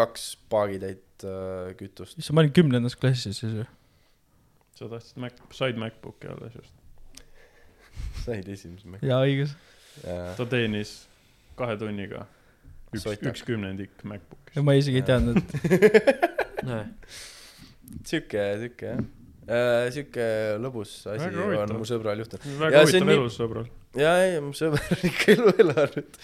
[SPEAKER 4] kaks paagitäit äh, kütust .
[SPEAKER 2] issand , ma olin kümnendas klassis siis ju .
[SPEAKER 1] sa tahtsid Mac , said Macbooki alles just .
[SPEAKER 4] said esimese mäng .
[SPEAKER 2] jaa , õigus .
[SPEAKER 1] ta teenis kahe tunniga üks ,
[SPEAKER 4] Sotak.
[SPEAKER 1] üks kümnendik Macbookist .
[SPEAKER 2] ma isegi ei teadnud , et
[SPEAKER 4] sihuke , sihuke jah äh, . sihuke lõbus asi
[SPEAKER 1] Väga
[SPEAKER 4] on
[SPEAKER 1] huvitav.
[SPEAKER 4] mu sõbral juhtunud .
[SPEAKER 1] väga
[SPEAKER 4] Ja see on
[SPEAKER 1] huvitav
[SPEAKER 4] nii-
[SPEAKER 1] elus , sõbral .
[SPEAKER 4] ja , ei , mu sõber on ikka elu elanud .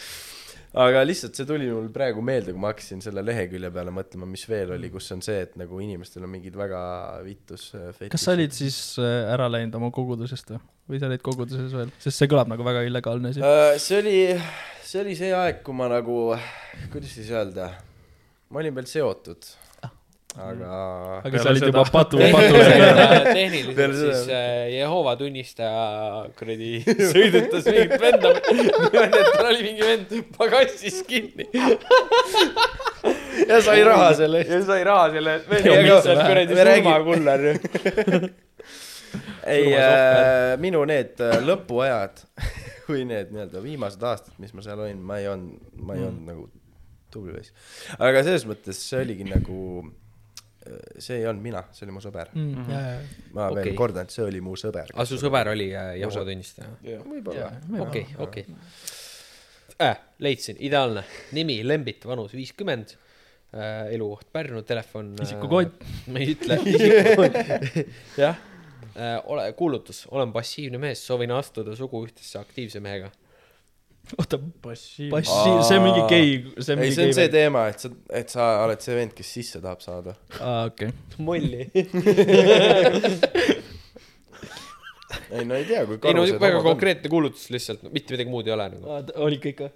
[SPEAKER 4] aga lihtsalt see tuli mul praegu meelde , kui ma hakkasin selle lehekülje peale mõtlema , mis veel oli , kus on see , et nagu inimestel on mingid väga vitus .
[SPEAKER 2] kas sa olid ? siis äh, ära läinud oma kogudusest või , või sa olid koguduses veel , sest see kõlab nagu väga illegaalne asi .
[SPEAKER 4] Äh, see oli , see oli see aeg , kui ma nagu , kuidas siis öelda , ma olin veel seotud , aga .
[SPEAKER 2] Ah. aga
[SPEAKER 1] peale
[SPEAKER 2] sa olid
[SPEAKER 1] seda-
[SPEAKER 2] juba patu , patu .
[SPEAKER 4] Peale
[SPEAKER 3] tehniliselt
[SPEAKER 4] seda-
[SPEAKER 3] siis äh, Jehova tunnistaja kuradi sõidutas mingit venda . niimoodi , et tal oli mingi vend pagassis kinni .
[SPEAKER 4] ja sai raha selle eest .
[SPEAKER 3] ja sai raha selle eest , meil
[SPEAKER 4] Ei,
[SPEAKER 3] oli
[SPEAKER 4] aga-
[SPEAKER 3] lihtsalt kuradi
[SPEAKER 4] me räägime-
[SPEAKER 3] surmakuller ju .
[SPEAKER 4] ei äh,
[SPEAKER 3] Surmasohver. ,
[SPEAKER 4] minu need äh, lõpuajad või need nii-öelda viimased aastad , mis ma seal olin , ma ei olnud , ma ei olnud nagu tubli poiss . aga selles mõttes see oligi nagu , see ei olnud mina , see oli mu sõber .
[SPEAKER 2] Mm,
[SPEAKER 4] ma okay.
[SPEAKER 3] Okei.
[SPEAKER 4] veel kordan , et see oli mu sõber .
[SPEAKER 3] aga su sõber oli äh, Jehoova tunnistaja ?
[SPEAKER 4] võib-olla .
[SPEAKER 3] okei , okei . leidsin , ideaalne . nimi Lembit , vanus viiskümmend . elukoht Pärnu , telefon .
[SPEAKER 2] Isikukod. .
[SPEAKER 3] ma ei ütle , isikukod . jah . ole , kuulutus , olen passiivne mees , soovin astuda suguühtesse aktiivse mehega .
[SPEAKER 2] oota ,
[SPEAKER 1] passiiv .
[SPEAKER 2] passi , see on mingi gei , see on
[SPEAKER 4] ei ,
[SPEAKER 2] mingi
[SPEAKER 4] see
[SPEAKER 2] gei
[SPEAKER 4] on see . teema , et sa , et sa oled see vend , kes sisse tahab saada .
[SPEAKER 2] aa , okei .
[SPEAKER 3] molli .
[SPEAKER 4] ei no ei tea , kui
[SPEAKER 3] ei no
[SPEAKER 4] karused
[SPEAKER 3] väga
[SPEAKER 4] homod on.
[SPEAKER 3] konkreetne kuulutus lihtsalt , mitte midagi muud ei ole nagu .
[SPEAKER 2] oli kõik või ?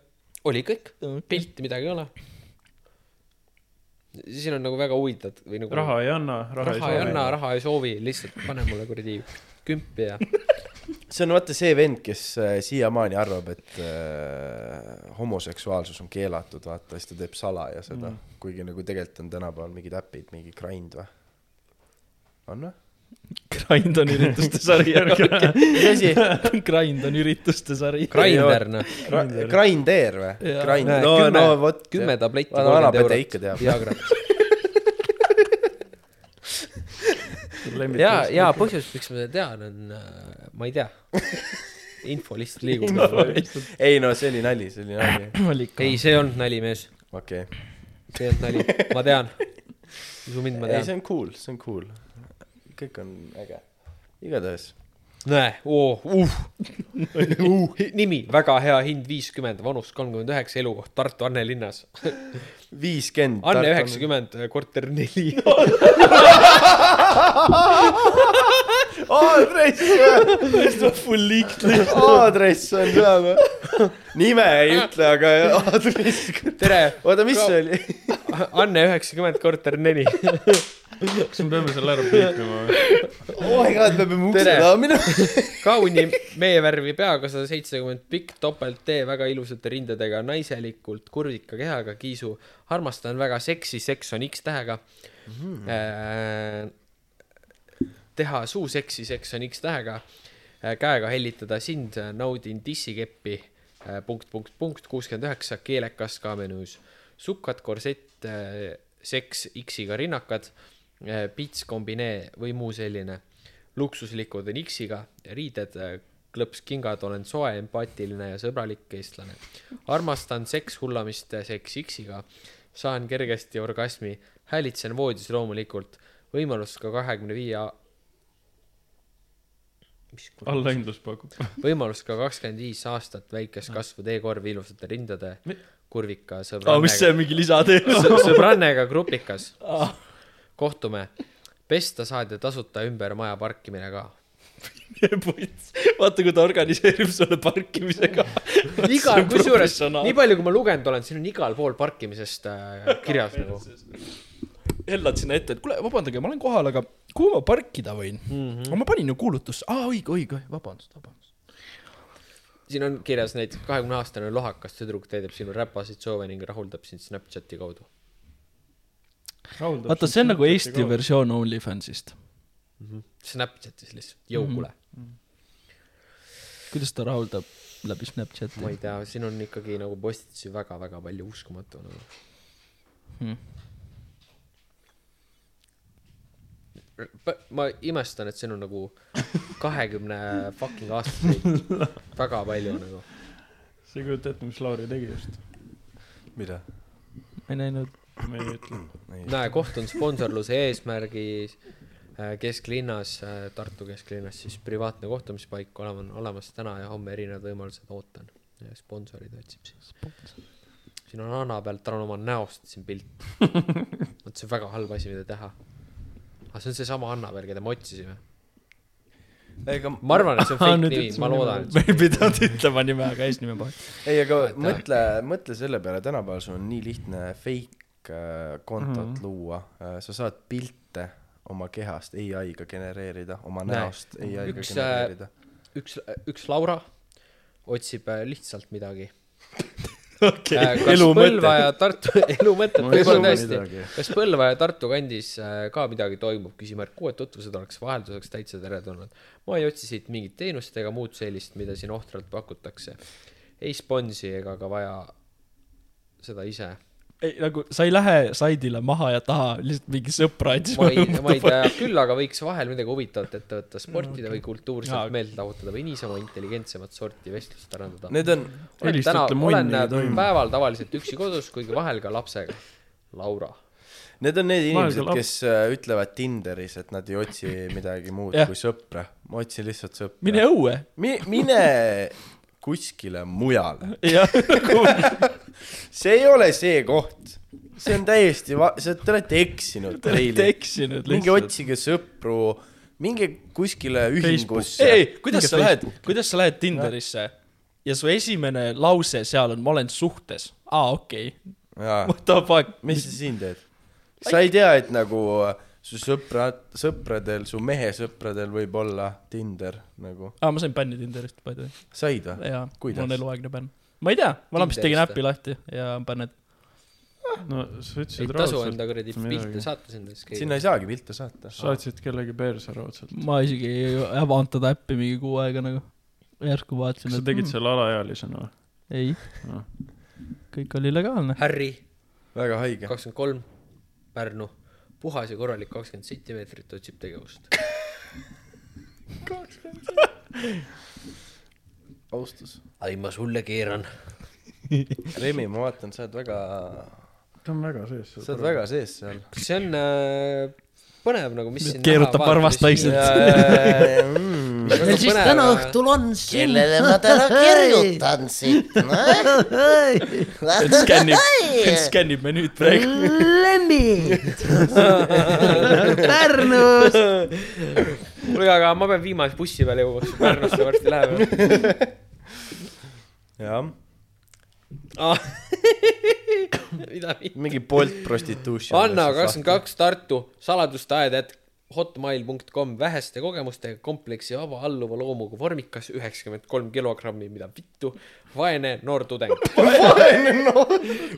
[SPEAKER 3] oli kõik , pilti midagi ei ole . siin on nagu väga huvitavad või nagu .
[SPEAKER 1] raha ei anna , raha ei
[SPEAKER 3] raha ei anna ,
[SPEAKER 1] saa .
[SPEAKER 3] raha ei soovi , lihtsalt pane mulle kuradi kümpi ja
[SPEAKER 4] see on vaata see vend , kes äh, siiamaani arvab , et äh, homoseksuaalsus on keelatud , vaata , siis ta teeb salaja seda mm. . kuigi nagu tegelikult on tänapäeval mingid äpid , mingi Grind või ? on või ?
[SPEAKER 2] Grind on ürituste sari .
[SPEAKER 4] mis asi ?
[SPEAKER 2] Grind on ürituste sari .
[SPEAKER 3] grinder noh ,
[SPEAKER 4] Grind Air või ?
[SPEAKER 2] Jaa.
[SPEAKER 4] Grind ,
[SPEAKER 3] Näe,
[SPEAKER 4] no ,
[SPEAKER 3] kümme-
[SPEAKER 4] no vot .
[SPEAKER 3] kümme tabletti
[SPEAKER 4] vana
[SPEAKER 3] kolmkümmend
[SPEAKER 4] vanapäde
[SPEAKER 3] eurot
[SPEAKER 4] ikka teab .
[SPEAKER 3] Viagrat . ja
[SPEAKER 1] lemmik .,
[SPEAKER 3] ja põhjus , miks ma seda tean , on , ma ei tea . info lihtsalt liigub .
[SPEAKER 4] ei no see oli nali , see oli nali .
[SPEAKER 2] oli ikka .
[SPEAKER 3] ei , see ei olnud nali , mees ,
[SPEAKER 4] okei okay. .
[SPEAKER 3] see ei olnud nali , ma tean . usu mind , ma
[SPEAKER 4] ei , see
[SPEAKER 3] tean .
[SPEAKER 4] on cool , see on cool . kõik on äge . igatahes .
[SPEAKER 3] näe , oo , uh uh , nimi , väga hea hind , viiskümmend , vanus kolmkümmend üheksa , elukoht Tartu Anne linnas .
[SPEAKER 4] viiskümmend .
[SPEAKER 3] Anne . üheksakümmend , korter neli .
[SPEAKER 4] aadress või ? aadress on seal või ? nime ei ütle , aga aadress .
[SPEAKER 3] tere ,
[SPEAKER 4] oota , mis see oli ?
[SPEAKER 3] Anne üheksakümmend , korter neli .
[SPEAKER 1] kas me peame selle ära piipima või ?
[SPEAKER 4] oh my god , me peame ukse
[SPEAKER 3] Tere.
[SPEAKER 4] taha minema .
[SPEAKER 3] kauni meevärvi peaga , sada seitsekümmend pikk , topelt-T , väga ilusate rindadega , naiselikult kurvika kehaga , kiisu , armastan väga seksi , seks on X tähega mm. . teha suuseksi , seks on X tähega , käega hellitada sind , naudin dissikeppi , punkt , punkt , punkt , kuuskümmend üheksa , keelekas ka menüüs , sukkad , korsett , seks X-iga rinnakad , pits , kombinee või muu selline luksuslikud on X-iga , riided , klõpskingad , olen soe , empaatiline ja sõbralik eestlane . armastan seks hullamist , seks X-iga , saan kergesti orgasmi , häälitsen voodis loomulikult , võimalus ka kahekümne viie ,
[SPEAKER 1] allahindlus pakub .
[SPEAKER 3] võimalus ka kakskümmend viis aastat väikest kasvu teekorvi ilusate rindade , kurvika
[SPEAKER 2] aa , mis see
[SPEAKER 3] sõbrannaga ,
[SPEAKER 2] on mingi lisateema ?
[SPEAKER 3] sõ- sõbrannaga grupikas . kohtume , pesta saad ja tasuta ümber maja parkimine ka
[SPEAKER 2] puts , vaata kui ta organiseerib sulle parkimisega .
[SPEAKER 3] igal , kusjuures nii palju , kui ma lugenud olen , siin on igal pool parkimisest äh, kirjas nagu .
[SPEAKER 2] hellad sinna ette , et kuule , vabandage , ma olen kohal , aga kuhu ma parkida võin mm ? -hmm. aga ma panin ju kuulutusse , aa õige , õige , vabandust , vabandust .
[SPEAKER 3] siin on kirjas näiteks kahekümne aastane lohakas tüdruk täidab sinu räpaseid soove ning rahuldab sind Snapchati kaudu .
[SPEAKER 2] vaata , see on nagu Eesti versioon OnlyFansist .
[SPEAKER 3] Snapchatis lihtsalt , jõukule mm .
[SPEAKER 2] kuidas ta rahuldab läbi Snapchati
[SPEAKER 3] -hmm. ma ? ei tea , siin on ikkagi nagu postitusi väga-väga palju , uskumatu nagu
[SPEAKER 2] Hmm.
[SPEAKER 3] mm. . ma imestan , et siin on nagu kahekümne fucking aastaseid väga palju nagu .
[SPEAKER 1] sa ei kujuta ette , mis Lauri tegi just .
[SPEAKER 4] mida ?
[SPEAKER 2] ma ei näinud .
[SPEAKER 1] me ei ütle .
[SPEAKER 3] näe , koht on sponsorluse eesmärgis äh, kesklinnas , Tartu kesklinnas siis privaatne kohtumispaik olema , on olemas täna ja homme erinevad võimalused , ootan . sponsorid otsib siis . siin on Anna pealt , tal on oma näost siin pilt . vot see on väga halb asi , mida teha . aga see on seesama Anna peal , keda me otsisime .
[SPEAKER 4] ega ,
[SPEAKER 3] ma arvan , et see on fake nimi , ma loodan , et
[SPEAKER 2] me ei pidanud ütlema nime , aga eesnime paha .
[SPEAKER 4] ei , aga mõtle , mõtle selle peale , tänapäeval sul on nii lihtne fake äh, kontot mm -hmm. luua . sa saad pilte oma kehast ai-ga genereerida , oma
[SPEAKER 3] Näe,
[SPEAKER 4] näost ai-ga
[SPEAKER 3] üks, äh,
[SPEAKER 4] genereerida .
[SPEAKER 3] üks , üks Laura otsib äh, lihtsalt midagi .
[SPEAKER 4] Okei.
[SPEAKER 3] kas
[SPEAKER 4] Elu mõte.
[SPEAKER 3] Põlva ja Tartu , elu mõtted
[SPEAKER 1] Ma ei
[SPEAKER 3] võib-olla
[SPEAKER 1] usu
[SPEAKER 3] tõesti
[SPEAKER 1] midagi. .
[SPEAKER 3] kas Põlva ja Tartu kandis äh, ka midagi toimub , küsimärk , uued tutvused oleks vahelduseks täitsa teretulnud . ma ei otsi siit mingit teenust ega muud sellist , mida siin ohtralt pakutakse . ei sponsi ega ka vaja seda ise .
[SPEAKER 2] ei , nagu sa ei lähe saidile maha ja taha lihtsalt mingi sõpra andis .
[SPEAKER 3] ma ei , ma ei tea , küll aga võiks vahel midagi huvitavat ette võtta , sportida või
[SPEAKER 2] Jaa.
[SPEAKER 3] kultuurselt meelt lahutada või niisama intelligentsemat sorti vestlust arendada .
[SPEAKER 4] Need on ,
[SPEAKER 3] olen
[SPEAKER 1] Helist
[SPEAKER 3] täna ,
[SPEAKER 1] ütle munni
[SPEAKER 3] olen
[SPEAKER 1] ja
[SPEAKER 3] äh,
[SPEAKER 1] toim-
[SPEAKER 3] päeval tavaliselt üksi kodus , kuigi vahel ka lapsega . Laura .
[SPEAKER 4] need on need
[SPEAKER 1] Mõelge
[SPEAKER 4] inimesed ,
[SPEAKER 1] lap-
[SPEAKER 4] kes äh, ütlevad Tinderis , et nad ei otsi midagi muud
[SPEAKER 2] Jah.
[SPEAKER 4] kui sõpra . ma otsin lihtsalt sõpra .
[SPEAKER 2] mine õue .
[SPEAKER 4] Mi- , mine kuskile mujale .
[SPEAKER 2] jah , nagu
[SPEAKER 4] see ei ole see koht . see on täiesti va- , see , te olete eksinud .
[SPEAKER 2] te olete eksinud
[SPEAKER 4] minge
[SPEAKER 2] lihtsalt .
[SPEAKER 4] otsige sõpru , minge kuskile
[SPEAKER 2] ei , ei
[SPEAKER 4] ühingusse .,
[SPEAKER 2] kuidas
[SPEAKER 1] Minge
[SPEAKER 2] sa lähed , kuidas sa lähed Tinderisse ja su esimene lause seal on , ma olen suhtes . aa , okei okay. , what the fuck .
[SPEAKER 4] mis sa siin teed ? sa ei tea , et nagu su sõprad , sõpradel , su mehe sõpradel võib olla Tinder nagu ,
[SPEAKER 2] aa , ma sain bänni Tinderist , by the way .
[SPEAKER 4] said või ?
[SPEAKER 2] jaa , mul
[SPEAKER 4] Kuidas?
[SPEAKER 2] on eluaegne bänn . ma ei tea , ma lampist tegin
[SPEAKER 3] Ah, Tinderist
[SPEAKER 2] äpi lahti ja bänned .
[SPEAKER 1] no sa
[SPEAKER 3] ei
[SPEAKER 1] ütlesid
[SPEAKER 3] tasu enda kuradi
[SPEAKER 1] midagi.
[SPEAKER 3] pilte saata sinna siis
[SPEAKER 4] sinna
[SPEAKER 3] keegi .
[SPEAKER 4] ei saagi pilte saata .
[SPEAKER 1] saatsid kellegi perse raudselt .
[SPEAKER 2] ma isegi ei hävanud seda äppi mingi kuu aega nagu . järsku vaatasin ,
[SPEAKER 1] kas sa
[SPEAKER 2] et
[SPEAKER 1] tegid
[SPEAKER 2] mm,
[SPEAKER 1] selle alaealisena või ?
[SPEAKER 2] ei
[SPEAKER 1] Ah. .
[SPEAKER 2] kõik oli legaalne .
[SPEAKER 3] Harry ,
[SPEAKER 4] väga haige .
[SPEAKER 3] kakskümmend kolm , Pärnu . puhas ja korralik kakskümmend sentimeetrit otsib tegevust .
[SPEAKER 4] austus .
[SPEAKER 3] ai , ma sulle keeran .
[SPEAKER 4] Remi , ma vaatan , sa oled väga ,
[SPEAKER 1] ta on väga sees .
[SPEAKER 4] sa oled väga sees seal .
[SPEAKER 3] see on äh, põnev nagu , mis siin .
[SPEAKER 2] keerutab varvast vaikselt.
[SPEAKER 3] Äh,
[SPEAKER 4] mm.
[SPEAKER 3] meil siis täna õhtul .
[SPEAKER 8] kellele ma täna kirjutan siit , noh .
[SPEAKER 2] skännib , skännib menüüd praegu .
[SPEAKER 6] Pärnus .
[SPEAKER 3] kuule , aga ma pean viimase bussi peale jõuaks , Pärnusse varsti läheb .
[SPEAKER 4] jah ,
[SPEAKER 3] Ah. mida viit- ?
[SPEAKER 4] mingi Bolt prostitution .
[SPEAKER 3] Anna kakskümmend . kaks Tartu saladusteaed , et hotmail.com väheste kogemustega kompleksi vaba alluva loomuga vormikas üheksakümmend kolm kilogrammi , mida vittu , vaene noor tudeng .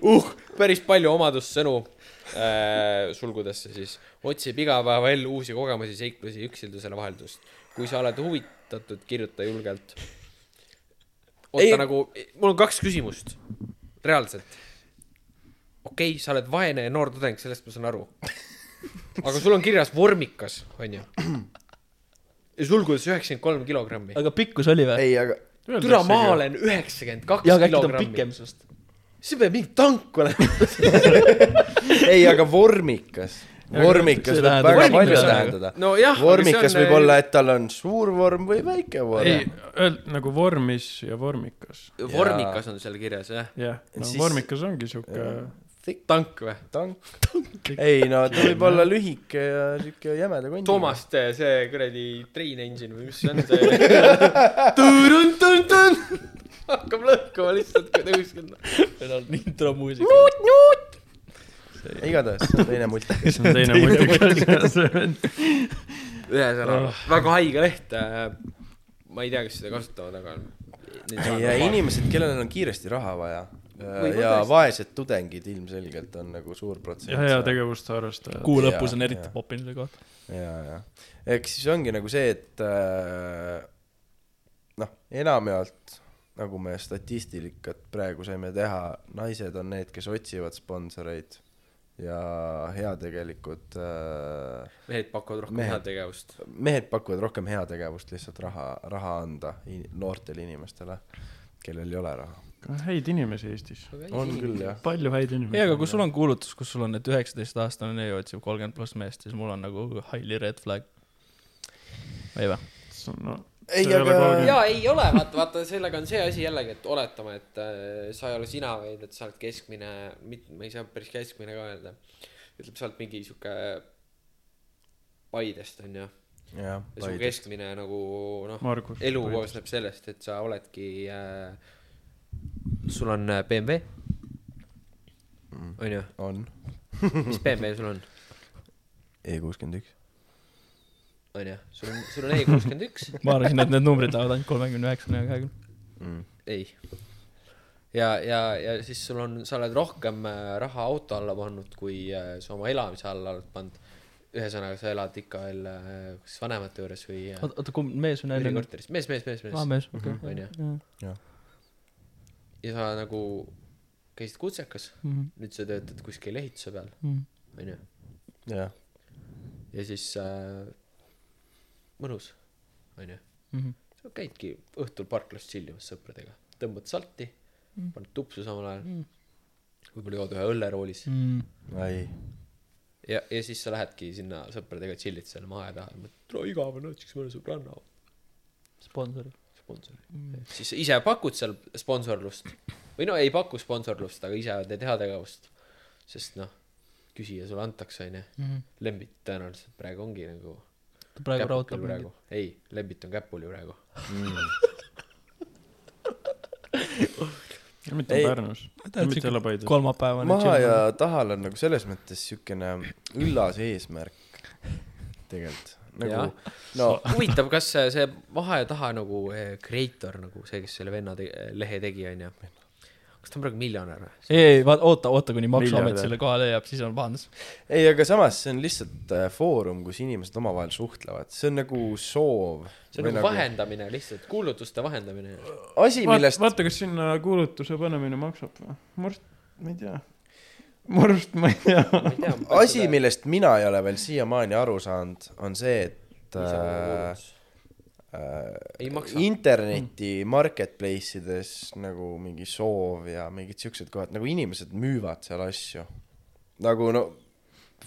[SPEAKER 3] uh , päris palju omadussõnu äh, sulgudesse siis , otsib igapäevaellu uusi kogemusi , seiklusi , üksildusele vaheldust . kui sa oled huvitatud , kirjuta julgelt . oota
[SPEAKER 4] Ei-
[SPEAKER 3] Ei... nagu , mul on kaks küsimust , reaalselt okei okay, , sa oled vaene ja noor tudeng , sellest ma saan aru . aga sul on kirjas vormikas , onju . ja sulgudes üheksakümmend kolm kilogrammi .
[SPEAKER 2] aga pikkus oli või ?
[SPEAKER 4] ei , aga
[SPEAKER 3] türa , ma . olen üheksakümmend kaks
[SPEAKER 2] jaa , aga äkki ta on
[SPEAKER 3] kilogrammi
[SPEAKER 2] pikem . sinust .
[SPEAKER 3] see peab mingi tank olema .
[SPEAKER 4] ei , aga vormikas . vormikas
[SPEAKER 2] see
[SPEAKER 4] võib
[SPEAKER 2] tähendab
[SPEAKER 4] väga
[SPEAKER 2] vormikas
[SPEAKER 4] palju
[SPEAKER 2] nagu.
[SPEAKER 4] tähendada
[SPEAKER 3] Nojah, aga
[SPEAKER 4] vormikas
[SPEAKER 3] see on, äh,
[SPEAKER 4] võib olla , et tal on suur vorm või väike
[SPEAKER 1] ei
[SPEAKER 4] vorm .,
[SPEAKER 1] nagu vormis ja vormikas .
[SPEAKER 3] äh, vormikas on seal kirjas , jah .
[SPEAKER 1] jah , no
[SPEAKER 4] Siis-
[SPEAKER 1] vormikas ongi siuke .
[SPEAKER 3] tank või ?
[SPEAKER 4] tank . ei no ta võib olla lühike ja siuke jämeda kondiga .
[SPEAKER 3] Toomast see kuradi train engine või mis see on see ? hakkab lõhkuma lihtsalt , kui tõuskond .
[SPEAKER 2] meil on intromuusika .
[SPEAKER 4] igatahes see on teine multik .
[SPEAKER 1] see on teine multikas .
[SPEAKER 3] ühesõnaga , väga haige leht . ma ei tea , kes seda kasutavad , aga .
[SPEAKER 4] ja inimesed , kellel on kiiresti raha vaja äh, ja vaesed tudengid ilmselgelt on nagu suur protsent .
[SPEAKER 1] ja , ja . tegevust harrastajad .
[SPEAKER 2] kuu lõpus on
[SPEAKER 4] Jaa,
[SPEAKER 2] eriti
[SPEAKER 4] jaa.
[SPEAKER 2] popinud see koht .
[SPEAKER 4] ja , ja eks siis ongi nagu see , et äh, noh , enamjaolt nagu me statistikat praegu saime teha , naised on need , kes otsivad sponsoreid ja heategelikud äh,
[SPEAKER 3] mehed pakuvad rohkem
[SPEAKER 4] Mehed.
[SPEAKER 3] heategevust .
[SPEAKER 4] mehed pakuvad rohkem heategevust , lihtsalt raha , raha anda in, noortele inimestele , kellel ei ole raha .
[SPEAKER 1] häid inimesi Eestis .
[SPEAKER 4] on küll jah .
[SPEAKER 1] palju häid
[SPEAKER 2] ei , aga
[SPEAKER 1] inimesi .
[SPEAKER 2] kui sul on kuulutus , kus sul on , et üheksateistaastane neiu otsib kolmkümmend pluss meest , siis mul on nagu highly red flag . ei või ?
[SPEAKER 1] no
[SPEAKER 4] ei ,
[SPEAKER 1] See ei ole
[SPEAKER 4] aga
[SPEAKER 1] kauge.
[SPEAKER 3] ja ei ole , vaata , vaata , sellega on see asi jällegi , et oletame , et äh, sa ei ole sina , vaid et sa oled keskmine , mitte , ma ei saa päris keskmine ka öelda . ütleme , sa oled mingi sihuke Paidest onju .
[SPEAKER 4] jah ,
[SPEAKER 3] ja su keskmine nagu noh ,
[SPEAKER 1] Margus .
[SPEAKER 3] elu koosneb sellest , et sa oledki äh, , sul on äh, BMW
[SPEAKER 4] Mm.
[SPEAKER 3] onju ,
[SPEAKER 4] on
[SPEAKER 3] mis BMW sul on ,
[SPEAKER 4] E kuuskümmend üks .
[SPEAKER 3] onju , sul on , sul on E kuuskümmend üks
[SPEAKER 2] ma arvasin , et need numbrid lähevad ainult kolmekümne üheksani ja kahekümne .
[SPEAKER 3] ei . ja , ja , ja siis sul on , sa oled rohkem äh, raha auto alla pannud , kui äh, sa oma elamise alla oled pannud . ühesõnaga , sa elad ikka veel äh, kas vanemate juures või äh,
[SPEAKER 2] oota , oota , kumb mees on enne ?
[SPEAKER 3] ülikorteris , mees , mees , mees , mees .
[SPEAKER 2] aa , mees , Mhm, okei .
[SPEAKER 3] onju .
[SPEAKER 4] Jah.
[SPEAKER 3] ja sa nagu käisid kutsekas ,
[SPEAKER 2] Mhm.
[SPEAKER 3] nüüd sa töötad kuskil ehituse peal , onju .
[SPEAKER 4] jah ,
[SPEAKER 3] ja siis äh, mõnus , onju .
[SPEAKER 2] mhm,
[SPEAKER 3] sa käidki õhtul parklas chill imas sõpradega , tõmbad salti , paned tupsu samal ajal mm. . võib-olla jood ühe õlle roolis mm.
[SPEAKER 2] mhm.
[SPEAKER 4] ai ,
[SPEAKER 3] ja , ja siis sa lähedki sinna sõpradega chill'id seal maa taha , mõtled , tule igavene , otsiks mõne sõbranna
[SPEAKER 2] sponsor .
[SPEAKER 3] sponsori mm. . siis ise pakud seal sponsorlust või no ei paku sponsorlust , aga ise teed heategevust . sest noh , küsija sulle antakse , onju . Lembit tõenäoliselt praegu ongi nagu .
[SPEAKER 2] Mhm. ta praegu raotab
[SPEAKER 3] praegu . ei , Lembit on käpuli praegu .
[SPEAKER 1] mitte
[SPEAKER 4] Ei.
[SPEAKER 1] Pärnus , mitte
[SPEAKER 2] mingit
[SPEAKER 1] jälle Paides .
[SPEAKER 2] kolmapäevane
[SPEAKER 4] maha ja tahal on nagu selles mõttes siukene üllas eesmärk tegelikult
[SPEAKER 3] Jah.
[SPEAKER 4] nagu , no
[SPEAKER 3] huvitav , kas see, see Vahe taha nagu eh, creator nagu see , kes selle venna te lehe tegi , onju . kas ta on praegu miljonär või ?
[SPEAKER 2] ei , ei , vaata , oota , oota , kuni maksuamet
[SPEAKER 1] Miljardär.
[SPEAKER 2] selle koha leiab , siis on pahandus .
[SPEAKER 4] ei , aga samas see on lihtsalt äh, foorum , kus inimesed omavahel suhtlevad , see on nagu soov .
[SPEAKER 3] see on nagu vahendamine lihtsalt , kuulutuste vahendamine .
[SPEAKER 4] asi , millest ,
[SPEAKER 1] vaata , kas sinna kuulutuse panemine maksab või ? Murst , ma ei tea . Murst , ma ei tea .
[SPEAKER 4] asi , millest mina ei ole veel siiamaani aru saanud , on see , et
[SPEAKER 3] nagu
[SPEAKER 4] äh,
[SPEAKER 3] Ei
[SPEAKER 4] äh,
[SPEAKER 3] maksa.
[SPEAKER 4] interneti marketplace ides nagu mingi soov ja mingid siuksed kohad , nagu inimesed müüvad seal asju . nagu no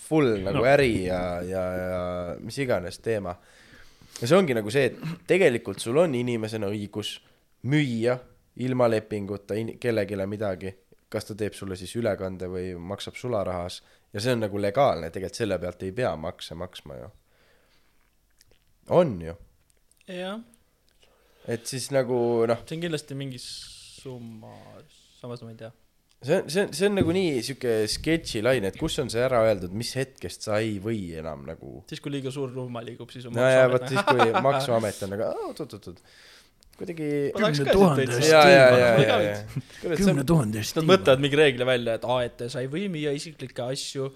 [SPEAKER 4] full nagu no. äri ja , ja , ja mis iganes teema . ja see ongi nagu see , et tegelikult sul on inimesena õigus müüa ilma lepinguta in- kellelegi midagi , kas ta teeb sulle siis ülekande või maksab sularahas ja see on nagu legaalne , tegelikult selle pealt ei pea makse maksma ju . on ju
[SPEAKER 2] jah ,
[SPEAKER 4] et siis nagu noh ,
[SPEAKER 2] see on kindlasti mingi summa , samas ma ei tea .
[SPEAKER 4] see on , see on , see on nagu nii sihuke sketši laine , et kus on see ära öeldud , mis hetkest sa ei või enam nagu .
[SPEAKER 2] siis , kui liiga suur rühma liigub , siis on
[SPEAKER 4] no ja
[SPEAKER 2] maksuamet
[SPEAKER 4] vot . siis , kui maksuamet on nagu "Aa, oot-oot-oot , kuidagi .
[SPEAKER 2] ma tahaks
[SPEAKER 5] Kümne
[SPEAKER 2] ka siit
[SPEAKER 5] tuhande
[SPEAKER 2] täitsa
[SPEAKER 5] eest
[SPEAKER 4] ja , ja , ja , ja ,
[SPEAKER 2] Kuule,
[SPEAKER 4] ja , see
[SPEAKER 5] kümne
[SPEAKER 4] on ,
[SPEAKER 5] tuhande eest
[SPEAKER 2] siis nad . mõtlevad mingi reegli välja , et aa , et sa ei või müüa isiklikke asju ,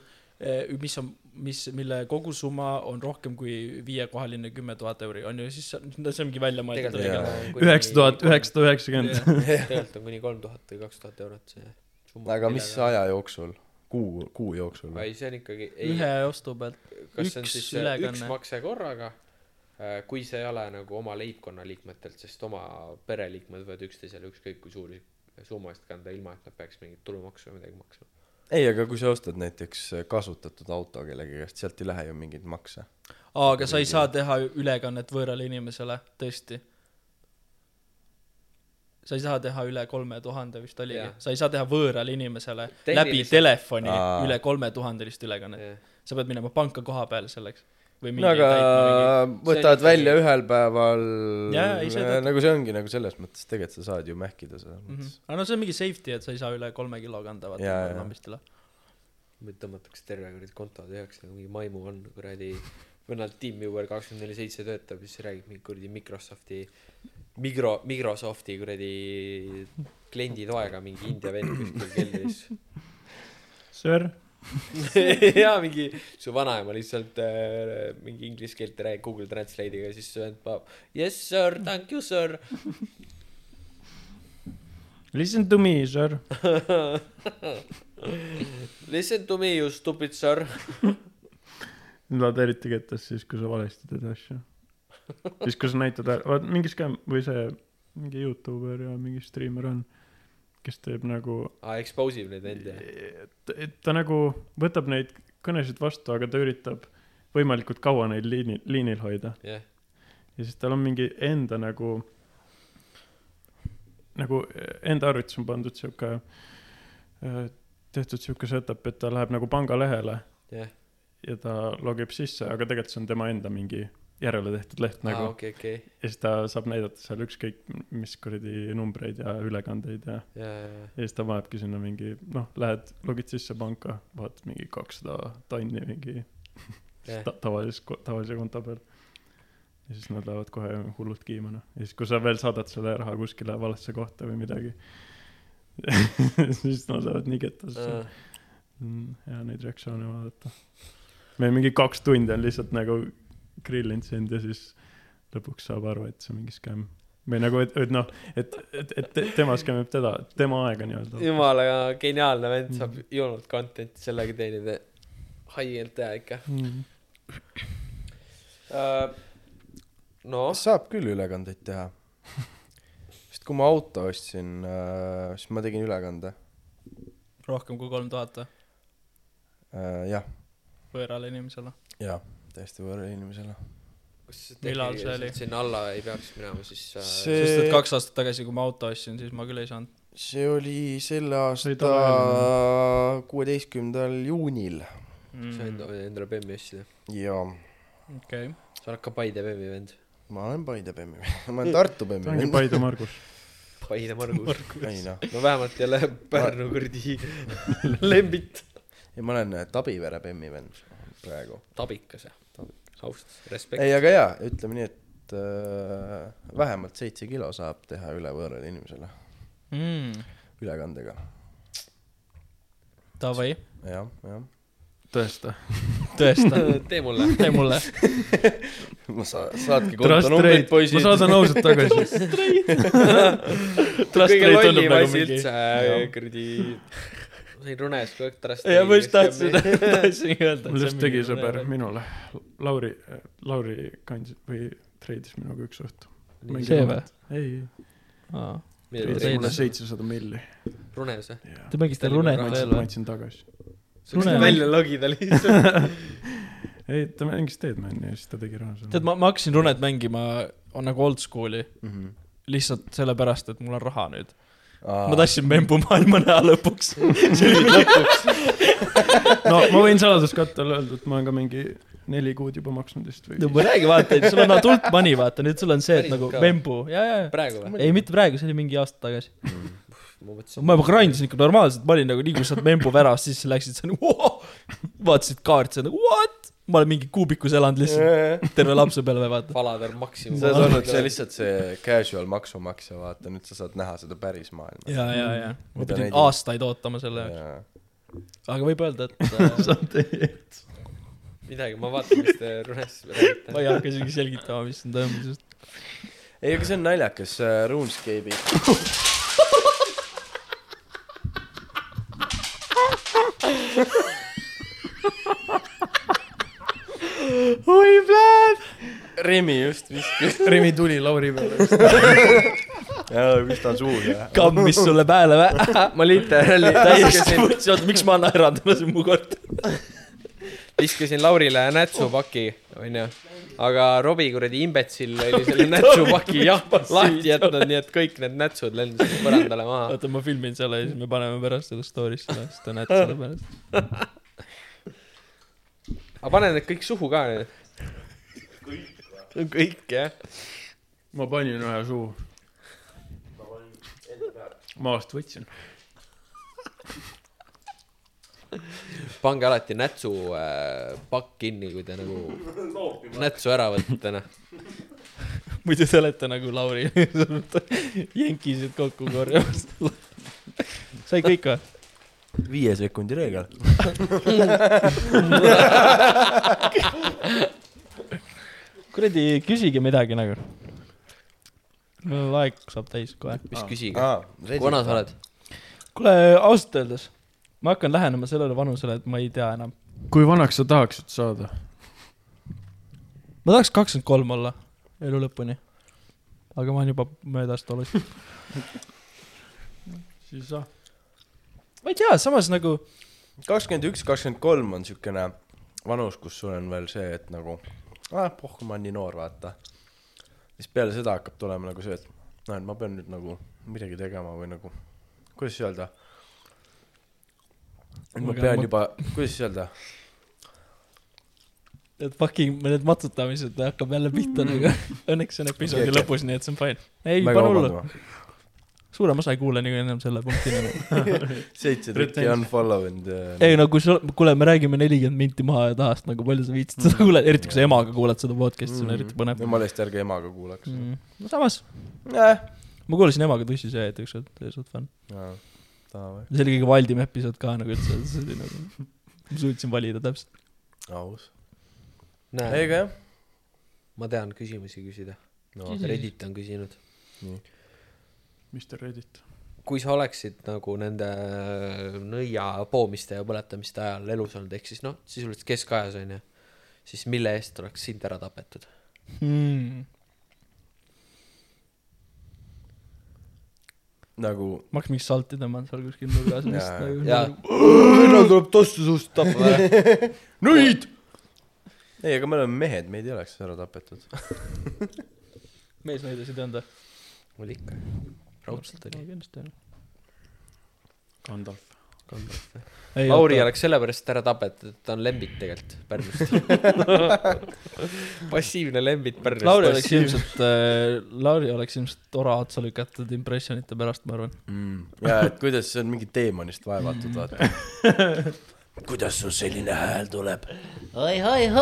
[SPEAKER 2] mis on , mis , mille kogusumma on rohkem kui viiekohaline kümme tuhat euri , on ju , siis see on- no see ongi välja mõeldud
[SPEAKER 4] Tegelikult-
[SPEAKER 2] reegel .
[SPEAKER 1] üheksa tuhat . üheksasada üheksakümmend .
[SPEAKER 3] tegelikult on kuni kolm tuhat või kaks tuhat eurot see summa .
[SPEAKER 4] aga mis ? aja jooksul , kuu , kuu jooksul või ?
[SPEAKER 3] ei , see on ikkagi , ei ,
[SPEAKER 2] ühe ostu pealt .
[SPEAKER 3] kas see on
[SPEAKER 2] üks
[SPEAKER 3] siis
[SPEAKER 2] ülekanne.
[SPEAKER 3] ülekanne. üks makse korraga , kui see ei ole nagu oma leibkonna liikmetelt , sest oma pereliikmed võivad üksteisele ükskõik kui suuri summasid kanda , ilma et nad peaks mingit tulumaksu või midagi maksma .
[SPEAKER 4] ei , aga kui sa ostad näiteks kasutatud auto kellegi käest , sealt ei lähe ju mingeid makse .
[SPEAKER 2] aa , aga sa ei saa teha ülekannet võõrale inimesele , tõesti . sa ei saa teha üle kolme tuhande vist oligi
[SPEAKER 3] Jah. ,
[SPEAKER 2] sa ei saa teha võõrale inimesele läbi
[SPEAKER 3] Tehniliselt-
[SPEAKER 2] telefoni
[SPEAKER 4] Aa.
[SPEAKER 2] üle kolmetuhandelist ülekannet . sa pead minema panka koha peal selleks . või
[SPEAKER 4] no
[SPEAKER 2] mingi
[SPEAKER 4] aga
[SPEAKER 2] täitma mingi
[SPEAKER 4] võtad
[SPEAKER 3] ikkagi-
[SPEAKER 4] välja ühel päeval
[SPEAKER 2] Jaa, ei, seda-
[SPEAKER 4] äh, nagu see ongi nagu selles mõttes , tegelikult sa saad ju mähkida selles mõttes .
[SPEAKER 2] Mhm. aga no see on mingi safety , et sa ei saa üle kolme kilo kanda vaata
[SPEAKER 4] Jaa, jaa.
[SPEAKER 2] enamasti üle .
[SPEAKER 3] nüüd tõmmatakse terve kuradi konto tühjaks , nagu mingi maimu on kuradi , vennalt TeamViewer kakskümmend neli seitse töötab , siis räägib mingi kuradi Microsofti , Migro , Microsofti kuradi klienditoega mingi India vend kuskil keldris
[SPEAKER 1] Sir ,
[SPEAKER 3] ja mingi su vanaema lihtsalt äh, mingi inglise keelt räägib Google Translate'iga , siis su vend paneb yes sir , thank you sir .
[SPEAKER 1] listen to me , sir .
[SPEAKER 3] Listen to me you stupid sir .
[SPEAKER 1] Nad eriti kettas siis , kui sa valesti teed asju . siis , kui sa näitad ära , vaat mingi skäm või see mingi Youtuber ja mingi striimer on , kes teeb nagu ,
[SPEAKER 3] aa , expose ib neid vendi .
[SPEAKER 1] ta nagu võtab neid kõnesid vastu , aga ta üritab võimalikult kaua neid liini , liinil hoida .
[SPEAKER 3] jah ,
[SPEAKER 1] ja siis tal on mingi enda nagu , nagu enda arvutis on pandud sihuke , tehtud sihuke setup , et ta läheb nagu pangalehele
[SPEAKER 3] jah . Ah,
[SPEAKER 1] ja ta logib sisse , aga tegelikult see on tema enda mingi järele tehtud leht
[SPEAKER 3] aa ,
[SPEAKER 1] nagu .
[SPEAKER 3] okei , okei .
[SPEAKER 1] ja siis ta saab näidata seal ükskõik mis kuradi numbreid ja ülekandeid ja ,
[SPEAKER 3] ja , ja ,
[SPEAKER 1] ja siis ta panebki sinna mingi , noh , lähed , logid sisse panka , vaatad mingi kakssada tonni mingi
[SPEAKER 3] ja ,
[SPEAKER 1] ta- tavalise , tavalise konto peal . ja siis nad lähevad kohe hullult kiimana ja siis , kui sa veel saadad selle raha kuskile valesse kohta või midagi , siis nad lähevad nii
[SPEAKER 3] Ah,
[SPEAKER 1] ketasse mm, . hea neid reaktsioone vaadata . meil mingi kaks tundi on lihtsalt nagu grillinud sind ja siis lõpuks saab aru , et see on mingi skäm . või nagu , et , et noh , et , et , et te- tema skämmib teda , tema aega nii-öelda .
[SPEAKER 3] jumala geniaalne
[SPEAKER 2] Mhm.
[SPEAKER 3] vend saab jõulult content'i sellega teenida . haiget teha ikka Ah,
[SPEAKER 1] mm. .
[SPEAKER 3] no
[SPEAKER 4] Ah, saab küll ülekandeid teha . sest kui ma auto ostsin , siis ma tegin ülekande .
[SPEAKER 2] rohkem kui kolm tuhat või ?
[SPEAKER 4] Äh, jah ,
[SPEAKER 2] võõrale inimesele .
[SPEAKER 4] jah , täiesti võõrale inimesele .
[SPEAKER 2] Millal see oli?
[SPEAKER 3] sinna alla ei peaks minema , siis äh,
[SPEAKER 4] See-
[SPEAKER 2] sest et kaks aastat tagasi , kui ma auto ostsin , siis ma küll ei saanud .
[SPEAKER 4] see oli selle
[SPEAKER 1] See oli
[SPEAKER 4] aasta kuueteistkümnendal juunil
[SPEAKER 3] sa enda , endale bemmi ostsid .
[SPEAKER 4] ja
[SPEAKER 2] Mm, okei .
[SPEAKER 3] sa oled ka Paide bemmi vend .
[SPEAKER 4] ma olen Paide bemmi , ma olen Tartu bemmi
[SPEAKER 1] ta ongi . Paide Margus .
[SPEAKER 3] Paide Margus .
[SPEAKER 4] ei noh ,
[SPEAKER 3] no vähemalt ei ole Pärnu kuradi lembit .
[SPEAKER 4] ei ma olen äh, Tabivere bemmi vend praegu .
[SPEAKER 3] tabikas jah . austus , respekt .
[SPEAKER 4] ei , aga jaa , ütleme nii , et äh, vähemalt seitse kilo saab teha üle võõrale inimesele
[SPEAKER 2] Mm,
[SPEAKER 4] ülekandega .
[SPEAKER 2] Davai ,
[SPEAKER 4] jah , jah .
[SPEAKER 1] tõesta .
[SPEAKER 2] tõesta ,
[SPEAKER 3] tee mulle .
[SPEAKER 2] tee mulle .
[SPEAKER 4] ma sa- , saatke
[SPEAKER 1] Trust
[SPEAKER 4] kontonumbrid
[SPEAKER 1] rate ,
[SPEAKER 4] poisid
[SPEAKER 1] ma . saadan ausalt tagasi .
[SPEAKER 2] Trust
[SPEAKER 3] kõige
[SPEAKER 2] rate tundub
[SPEAKER 3] lollim
[SPEAKER 2] nagu
[SPEAKER 3] asi
[SPEAKER 2] mingi .
[SPEAKER 3] üldse kuradi . ma sain runes kogu aeg trust .
[SPEAKER 2] ja ma just tahtsin , tahtsin öelda .
[SPEAKER 1] mul just tegi sõber . minule , Lauri , Lauri kandis või treidis minuga üks õhtu .
[SPEAKER 2] see või ?
[SPEAKER 1] ei ,
[SPEAKER 2] treidis?
[SPEAKER 1] treidis mulle seitsesada milli .
[SPEAKER 3] runes või ?
[SPEAKER 2] Te mängite
[SPEAKER 3] Tegi
[SPEAKER 2] runet
[SPEAKER 1] ma
[SPEAKER 2] veel
[SPEAKER 1] andsin , ma
[SPEAKER 2] või ?
[SPEAKER 1] andsin tagasi .
[SPEAKER 3] sa võiksid
[SPEAKER 2] Rune-
[SPEAKER 3] välja logida lihtsalt .
[SPEAKER 1] ei , ta mängis Deadmani ja siis ta tegi raha
[SPEAKER 2] tead ,
[SPEAKER 1] selle .
[SPEAKER 2] ma , ma hakkasin runet mängima , on nagu oldschool'i ,
[SPEAKER 4] ma
[SPEAKER 2] lihtsalt sellepärast , et mul on raha nüüd . ma tahtsin membu maailma näha lõpuks .
[SPEAKER 1] no ma võin saladuskatte all öelda , et ma olen ka mingi neli kuud juba maksnud vist või
[SPEAKER 2] no . ma räägin , vaata , sul on adult money , vaata , nüüd sul on see , et
[SPEAKER 3] Päriselt
[SPEAKER 2] nagu
[SPEAKER 3] ka?
[SPEAKER 2] membu , ja , ja , ja .
[SPEAKER 3] praegu või ?
[SPEAKER 2] ei , mitte praegu , see oli mingi aasta tagasi .
[SPEAKER 3] ma mõtlesin .
[SPEAKER 2] ma juba grindisin ikka normaalselt , ma olin nagu nii , kui sa oled membu väravast sisse läksid , sa nagu "Wow!" vaatasid kaarti , sa nagu what ? ma olen mingi kuubikus elanud lihtsalt
[SPEAKER 4] sa
[SPEAKER 2] terve lapsepõlve , vaata .
[SPEAKER 3] Paladar Maximum .
[SPEAKER 4] oled olnud see . lihtsalt see casual maksumaksja , vaata nüüd sa saad näha seda päris maailma .
[SPEAKER 2] ja , ja , ja . ma
[SPEAKER 4] Mida
[SPEAKER 2] pidin
[SPEAKER 4] neid-
[SPEAKER 2] aastaid ootama selle jaoks , aga võib öelda , et äh,
[SPEAKER 3] midagi , ma vaatan , mis te runes
[SPEAKER 2] ma ei
[SPEAKER 3] räägite .
[SPEAKER 2] hakka isegi selgitama , mis siin toimus just .
[SPEAKER 4] ei , aga see on naljakas , RuneScape'i .
[SPEAKER 2] oi , plaan .
[SPEAKER 4] Remi just viskas .
[SPEAKER 1] Remi tuli Lauri peale .
[SPEAKER 4] jaa , pistan suude .
[SPEAKER 2] kammis sulle pääle vä ?
[SPEAKER 3] ma literaali
[SPEAKER 2] täiesti
[SPEAKER 3] viskasin ,
[SPEAKER 2] võtsin , oota , miks ma naeran , see on mu kord .
[SPEAKER 3] viskasin Laurile nätsupaki , onju . aga Robbie kuradi imbetsil oli selle nätsupaki jah , lahti jätnud , nii et kõik need nätsud lendasid põrandale maha .
[SPEAKER 2] oota , ma filmin selle ja siis me paneme pärast seda story'sse , siis te näete selle pärast .
[SPEAKER 3] aga pane need kõik suhu ka nüüd . kõik jah .
[SPEAKER 1] ma panin ühe suhu . maast võtsin .
[SPEAKER 3] pange alati nätsu äh, pakk kinni , kui te nagu nätsu ära võtate , noh .
[SPEAKER 2] muidu te olete nagu Lauri jänkisid kokku korjamas . sai kõik või ?
[SPEAKER 4] viie sekundi reegel .
[SPEAKER 2] kuradi , küsige midagi nagu . mul aeg saab täis kohe .
[SPEAKER 3] mis küsige .
[SPEAKER 4] kui
[SPEAKER 3] kui vana sa ? oled ?
[SPEAKER 2] kuule , ausalt öeldes , ma hakkan lähenema sellele vanusele , et ma ei tea enam .
[SPEAKER 1] kui vanaks sa tahaksid saada ?
[SPEAKER 2] ma tahaks kakskümmend kolm olla elu lõpuni . aga ma olen juba möödas tolust .
[SPEAKER 1] siis ah ,
[SPEAKER 2] ma ei tea , samas nagu
[SPEAKER 4] kakskümmend üks , kakskümmend kolm on siukene vanus , kus sul on veel see , et nagu , ah pohh , ma olen nii noor , vaata . siis peale seda hakkab tulema nagu see , et noh , et ma pean nüüd nagu midagi tegema või nagu , kuidas öelda . ma
[SPEAKER 2] Aga
[SPEAKER 4] pean
[SPEAKER 2] ma-
[SPEAKER 4] juba , kuidas öelda ,
[SPEAKER 2] need fucking , need matsutamised hakkab jälle pihta nagu . Õnneks see on episoodi
[SPEAKER 4] Okei, okei.
[SPEAKER 2] lõpus , nii et see on fine . ei ,
[SPEAKER 4] väga
[SPEAKER 2] pane hullu .
[SPEAKER 4] vabandama .
[SPEAKER 2] suurem osa ei kuule nii ennem selle punktini .
[SPEAKER 4] seitse tükki unfollow äh, and
[SPEAKER 2] ei . no kui sa , kuule , me räägime nelikümmend minti maha ja tahast , nagu palju sa viitsid seda kuulata , eriti kui sa emaga kuulad seda Mm. podcast'i , see on eriti põnev .
[SPEAKER 4] Mm. jumala eest , ärge emaga kuulaks .
[SPEAKER 2] no samas , eh.
[SPEAKER 4] jah ,
[SPEAKER 2] ma kuulasin emaga tussi sööjat ükskord , see oli suht fun .
[SPEAKER 4] aa või ?
[SPEAKER 2] see oli kõige valdim episood ka nagu üldse , see oli nagu , ma suutsin valida täpselt .
[SPEAKER 4] aus .
[SPEAKER 3] näe ,
[SPEAKER 4] ega jah .
[SPEAKER 3] ma tean küsimusi küsida no, . Reddit on küsinud .
[SPEAKER 1] Mr Reddit .
[SPEAKER 3] kui sa oleksid nagu nende nõia poomiste ja põletamiste ajal elus olnud , ehk siis noh , sisuliselt keskajas onju , siis mille eest oleks sind ära tapetud ?
[SPEAKER 4] nagu
[SPEAKER 2] ma hakkasin mingit salti tõmbama seal kuskil nurgas , mis
[SPEAKER 4] Jaa.
[SPEAKER 2] nagu
[SPEAKER 3] jaa , vennal tuleb tossu suust tappa või ?
[SPEAKER 4] nõid . ei , aga me oleme mehed , meid ei oleks ära tapetud .
[SPEAKER 2] meesnõidasid ei olnud või ?
[SPEAKER 3] oli ikka , raudselt oli .
[SPEAKER 2] kindlasti ei olnud .
[SPEAKER 1] Gandalf .
[SPEAKER 3] Lauri . oleks sellepärast ära tapetud , et ta on lembit tegelikult Pärnust . passiivne lembit Pärnust .
[SPEAKER 2] Lauri oleks ilmselt äh, , Lauri oleks ilmselt ora otsa lükatud impressionite pärast , ma arvan .
[SPEAKER 4] ja , et kuidas see on mingi teemonist vaevatud , vaata .
[SPEAKER 8] kuidas sul selline hääl tuleb ? oi , oi ,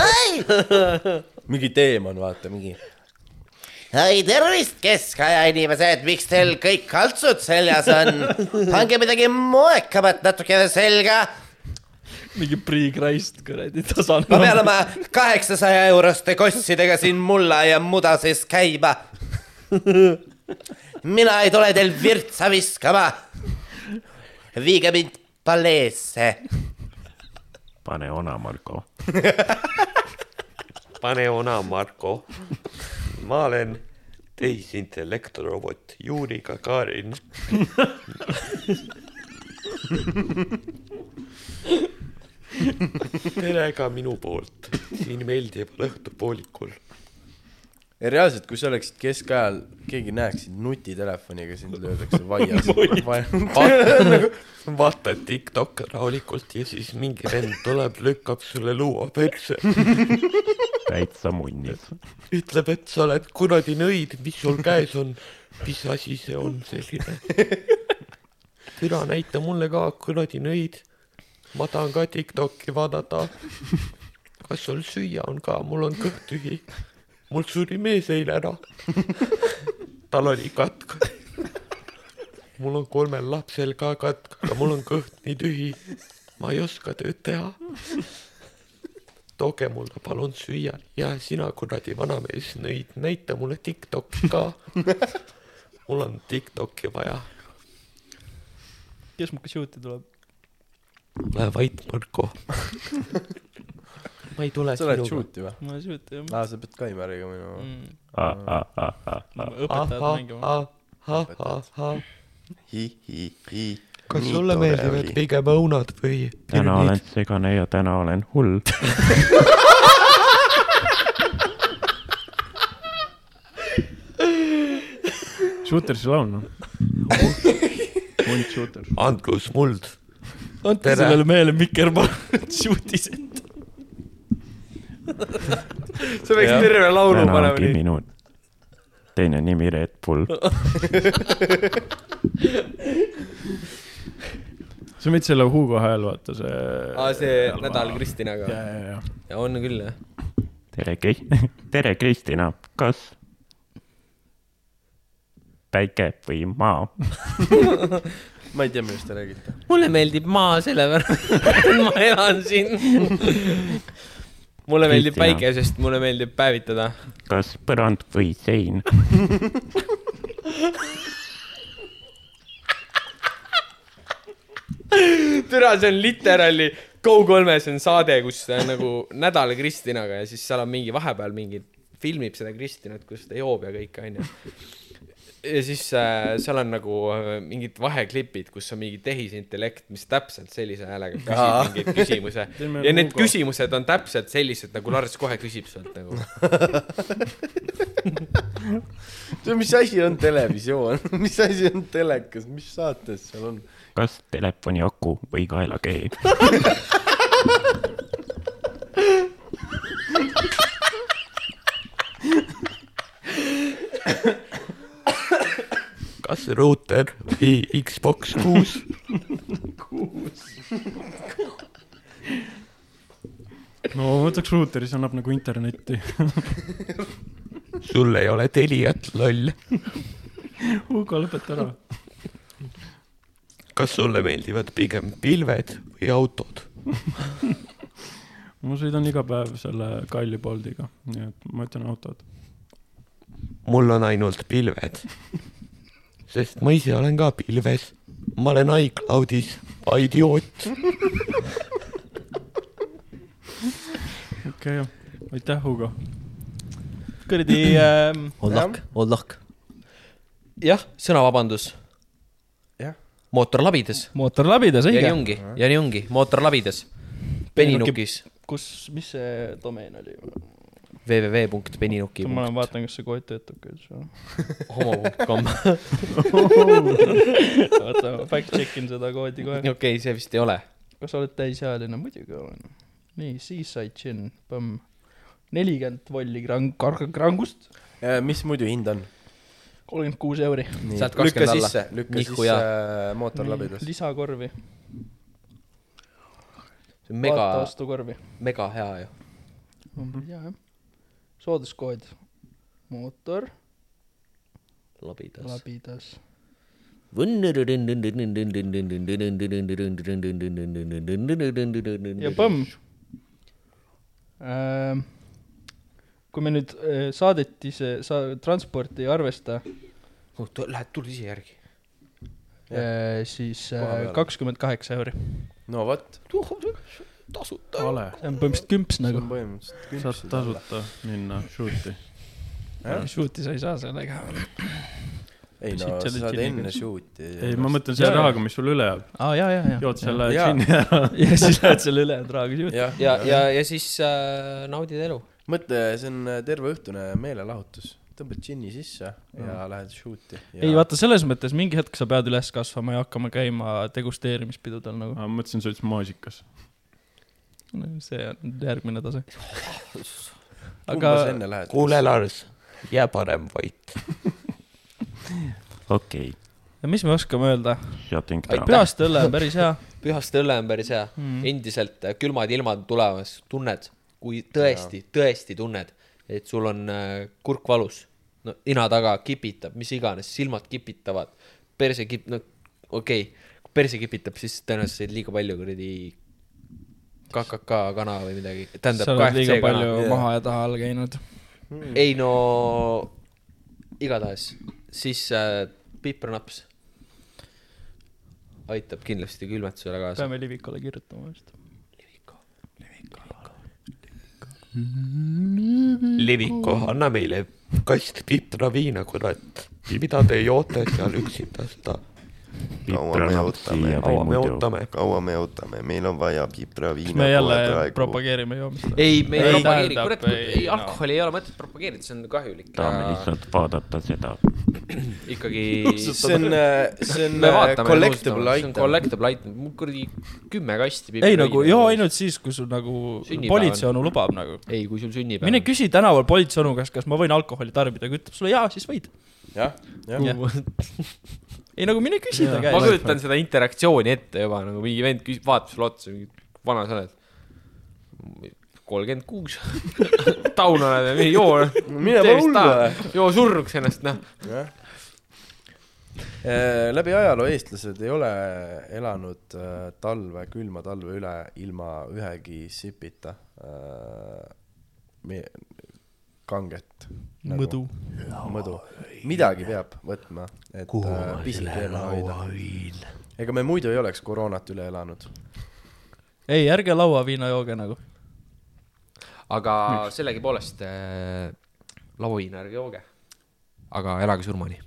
[SPEAKER 8] oi ,
[SPEAKER 4] mingi teemon , vaata , mingi .
[SPEAKER 8] oi tervist , keskaja inimesed , miks teil kõik kaltsud seljas on ? pange midagi moekamat natukene selga ,
[SPEAKER 2] mingi priikraist kuradi
[SPEAKER 8] ma
[SPEAKER 2] tasane
[SPEAKER 8] pean . oma kaheksasaja euroste kossidega siin mulla ja muda sees käima . mina ei tule teil virtsa viskama . viige mind paleesse
[SPEAKER 5] pane ona , Marko .
[SPEAKER 9] pane ona , Marko . ma olen tehisintellektrobot Juri Gagarin . tere ka minu poolt , siin meeldival õhtupoolikul .
[SPEAKER 4] reaalselt , kui sa oleksid keskajal , keegi näeks sind nutitelefoniga , sind löödakse vaias .
[SPEAKER 9] vaata Tiktok rahulikult ja siis mingi vend tuleb , lükkab sulle luua perse ,
[SPEAKER 5] täitsa munnis .
[SPEAKER 9] ütleb , et sa oled kuradi nõid , mis sul käes on . mis asi see on selline ? türa näita mulle ka kuradi nõid . ma tahan ka Tiktoki vaadata . kas sul süüa on ka , mul on kõht tühi . mul suri mees eile ära . tal oli katk . mul on kolmel lapsel ka katk , aga mul on kõht nii tühi . ma ei oska tööd teha tooge mulle palun süüa ja sina kuradi vanamees nõid , näita mulle Tiktoki ka . mul on Tiktoki vaja .
[SPEAKER 2] kes mukas juuti tuleb ?
[SPEAKER 9] ole vait , Marko . ma ei tule
[SPEAKER 4] sa oled
[SPEAKER 9] sinuga .
[SPEAKER 4] shoot'i või ?
[SPEAKER 2] ma ei saa juuti jah .
[SPEAKER 4] aa , sa pead kaimeriga minema .
[SPEAKER 2] õpetajad mängima .
[SPEAKER 4] hi-hi-hi .
[SPEAKER 9] kas sulle meeldivad pigem õunad või ?
[SPEAKER 5] täna olen segane ja täna olen hull .
[SPEAKER 1] Shootersi laul , noh . Hunt Shooter .
[SPEAKER 9] Andrus Muld .
[SPEAKER 2] andke
[SPEAKER 9] Tere.
[SPEAKER 2] sellele mehele mikker , ma shoot'is ette .
[SPEAKER 3] sa võiks terve laulu
[SPEAKER 5] täna
[SPEAKER 3] panema
[SPEAKER 5] ongi
[SPEAKER 3] nii .
[SPEAKER 5] minu teine nimi Red Bull .
[SPEAKER 1] sa võid selle Hugo hääl vaata , see .
[SPEAKER 3] aa , see nädal . Kristinaga
[SPEAKER 1] ja ,. ja , ja .
[SPEAKER 3] on küll jah .
[SPEAKER 5] tere , tere , Kristina , kas päike või maa ?
[SPEAKER 4] ma ei tea , millest te räägite .
[SPEAKER 3] mulle meeldib maa sellepärast , et ma elan siin . mulle meeldib
[SPEAKER 5] Kristina.
[SPEAKER 3] päike , sest mulle meeldib päevitada .
[SPEAKER 5] kas põrand või sein ?
[SPEAKER 3] türa , see on literaali Go3-s on saade , kus ta on nagu nädal Kristinaga ja siis seal on mingi vahepeal mingi , filmib seda Kristinat , kus ta joob ja kõike , onju . ja siis äh, seal on nagu äh, mingid vaheklipid , kus on mingi tehisintellekt , mis täpselt sellise häälega küsib mingeid küsimusi .
[SPEAKER 1] Teeme
[SPEAKER 3] ja need
[SPEAKER 1] Hugo.
[SPEAKER 3] küsimused on täpselt sellised , nagu Lars kohe küsib sealt nagu .
[SPEAKER 4] tead , mis asi on televisioon ? mis asi on telekas , mis saates seal on ?
[SPEAKER 5] kas telefoni aku või kaelakee ?
[SPEAKER 9] kas ruuter või Xbox kuus ?
[SPEAKER 1] no ma võtaks Shooteris , annab nagu internetti .
[SPEAKER 9] sul ei ole Teliat , loll .
[SPEAKER 1] Hugo , lõpeta ära .
[SPEAKER 9] kas sulle meeldivad pigem pilved või autod ?
[SPEAKER 1] ma sõidan iga päev selle kalli Boltiga , nii et ma ütlen autod .
[SPEAKER 9] mul on ainult pilved . sest ma ise olen ka pilves . ma olen iCloudis , idioot .
[SPEAKER 1] okei okay, , aitäh , Hugo .
[SPEAKER 3] kuradi ähm, .
[SPEAKER 10] Old luck , old luck .
[SPEAKER 3] jah , sõnavabandus .
[SPEAKER 4] Jah. .
[SPEAKER 3] mootor labides .
[SPEAKER 2] mootor labidas ,
[SPEAKER 3] ja nii
[SPEAKER 2] õige .
[SPEAKER 3] ongi , ja nii ongi , mootor labides . peninukis
[SPEAKER 2] kus , mis see domeen oli ?
[SPEAKER 3] www.peninuki
[SPEAKER 2] ma olen , vaatan , kas see kood töötab ka üldse .
[SPEAKER 3] homo.com .
[SPEAKER 2] oota , ma fact check in seda koodi kohe .
[SPEAKER 3] okei , see vist ei ole .
[SPEAKER 2] kas sa oled täisealine ? muidugi olen . nii , Seaside Gin , põmm . nelikümmend volli krang- , kar- , krangust ,
[SPEAKER 4] Äh, mis muidu hind on ?
[SPEAKER 2] kolmkümmend kuus euri .
[SPEAKER 3] Saad
[SPEAKER 4] lükka
[SPEAKER 3] 20 alla.
[SPEAKER 4] sisse , lükka
[SPEAKER 3] Nihu
[SPEAKER 4] sisse äh, mootorlabides .
[SPEAKER 2] lisakorvi ,
[SPEAKER 3] see on mega ,
[SPEAKER 2] vaataostukorvi .
[SPEAKER 3] mega hea ju .
[SPEAKER 2] ja , jah . sooduskood , mootor ,
[SPEAKER 3] labides .
[SPEAKER 2] labidas . ja põmm ähm, . kui me nüüd äh, saadetise , sa- , transporti ei arvesta ,
[SPEAKER 11] Lähed , Oh, tule ise järgi .
[SPEAKER 2] äh, siis
[SPEAKER 4] Koha peale.
[SPEAKER 2] kakskümmend kaheksa euri .
[SPEAKER 4] no vot ,
[SPEAKER 1] vale ,
[SPEAKER 2] see on põhimõtteliselt kümps
[SPEAKER 4] see
[SPEAKER 2] nagu
[SPEAKER 4] on . põhimõtteliselt
[SPEAKER 1] saad
[SPEAKER 4] küpsed olla .
[SPEAKER 1] tasuta minna shoot'i .
[SPEAKER 2] Shooti sa ei saa sellega .
[SPEAKER 4] ei
[SPEAKER 2] Siit
[SPEAKER 4] no , sa
[SPEAKER 2] selle
[SPEAKER 4] saad
[SPEAKER 2] džinniga.
[SPEAKER 4] enne shoot'i .
[SPEAKER 1] ei , ma mõtlen selle rahaga , mis sul üle jääb .
[SPEAKER 2] aa , ja , ja , ja .
[SPEAKER 1] jood selle
[SPEAKER 4] Jaa.
[SPEAKER 1] džinni ära .
[SPEAKER 2] ja siis lähed selle ülejäänud rahaga juurde .
[SPEAKER 4] jah ,
[SPEAKER 3] ja , ja , ja siis äh, naudid elu .
[SPEAKER 4] mõtle , see on terveõhtune meelelahutus , tõmbad džinni sisse ja lähed shoot'i .
[SPEAKER 2] ei , vaata , selles mõttes mingi hetk sa pead üles kasvama ja hakkama käima degusteerimispidudel nagu .
[SPEAKER 1] ma mõtlesin , sa ütlesid maasikas .
[SPEAKER 2] see on järgmine tase .
[SPEAKER 4] aga
[SPEAKER 2] aga .
[SPEAKER 4] enne lähed ?
[SPEAKER 9] kuule , Lars , jää parem vait .
[SPEAKER 5] okei ,
[SPEAKER 2] ja mis me oskame öelda ?
[SPEAKER 5] shutting
[SPEAKER 3] Aitäh.
[SPEAKER 5] down .
[SPEAKER 2] pühast õlle on päris hea .
[SPEAKER 3] pühast õlle on päris hea mm. ,
[SPEAKER 2] Mhm.
[SPEAKER 3] endiselt äh, külmad ilmad tulemas , tunned , kui tõesti , tõesti tunned , et sul on äh, kurk valus , no nina taga kipitab , mis iganes , silmad kipitavad , perse kip- , no okei okay. , kui perse kipitab , siis tõenäoliselt sõid liiga palju kuradi KKK kana või midagi ,
[SPEAKER 2] sa
[SPEAKER 3] tähendab
[SPEAKER 2] oled liiga
[SPEAKER 3] KFC kana
[SPEAKER 2] palju maha ja taha all käinud .
[SPEAKER 3] ei no igatahes , siis äh, piipernaps aitab kindlasti külmetusele kaasa .
[SPEAKER 2] peame Livikule kirjutama vist .
[SPEAKER 9] Liviko , anna meile kast pipraviina , kurat . mida te joote seal üksinda seda ?
[SPEAKER 5] kaua me ootame
[SPEAKER 9] kaua me ? ootame ?
[SPEAKER 10] kaua me ootame , meil on vaja pipraviina .
[SPEAKER 4] nagu
[SPEAKER 2] me jälle . propageerime joomist .
[SPEAKER 3] ei , me ei
[SPEAKER 2] Ei,
[SPEAKER 3] propageeri ,
[SPEAKER 2] tähendab,
[SPEAKER 3] kurat ,
[SPEAKER 2] ei,
[SPEAKER 3] ei
[SPEAKER 2] no.
[SPEAKER 3] alkoholi ei ole mõtet propageerida , see on kahjulik .
[SPEAKER 5] tahame lihtsalt vaadata seda .
[SPEAKER 3] ikkagi .
[SPEAKER 4] see on , see on äh,
[SPEAKER 3] me vaatame .
[SPEAKER 4] collectible
[SPEAKER 3] see on
[SPEAKER 4] item .
[SPEAKER 3] collectible item , mul kuradi kümme kasti .
[SPEAKER 2] ei nagu joo . ainult siis , kui sul nagu
[SPEAKER 3] Sünnipäev on.
[SPEAKER 2] politsei onu lubab nagu .
[SPEAKER 3] ei , kui sul sünnipäev .
[SPEAKER 2] mine . küsi tänaval politsei onu käest , kas ma võin alkoholi tarbida , kui ütleb sulle jaa , siis võid .
[SPEAKER 4] jah , jah .
[SPEAKER 2] ei nagu mine küsi ta
[SPEAKER 3] ma
[SPEAKER 2] käest .
[SPEAKER 3] kujutan seda interaktsiooni ette juba nagu mingi vend küsib , vaatab sulle otsa , vana sa oled ? kolmkümmend kuus . taun oled või , joo .
[SPEAKER 4] mine ma hullu .
[SPEAKER 3] joo surnuks ennast , noh .
[SPEAKER 4] Äh, läbi ajaloo eestlased ei ole elanud äh, talve , külma talve üle ilma ühegi sipita äh, me- kanget .
[SPEAKER 2] mõdu .
[SPEAKER 4] mõdu . midagi peab võtma , et äh, pisike eemal hoida . ega me muidu ei oleks koroonat üle elanud .
[SPEAKER 2] ei , ärge lauaviina jooge nagu .
[SPEAKER 3] aga sellegipoolest äh, lauaviina ärge jooge . aga elage surmani .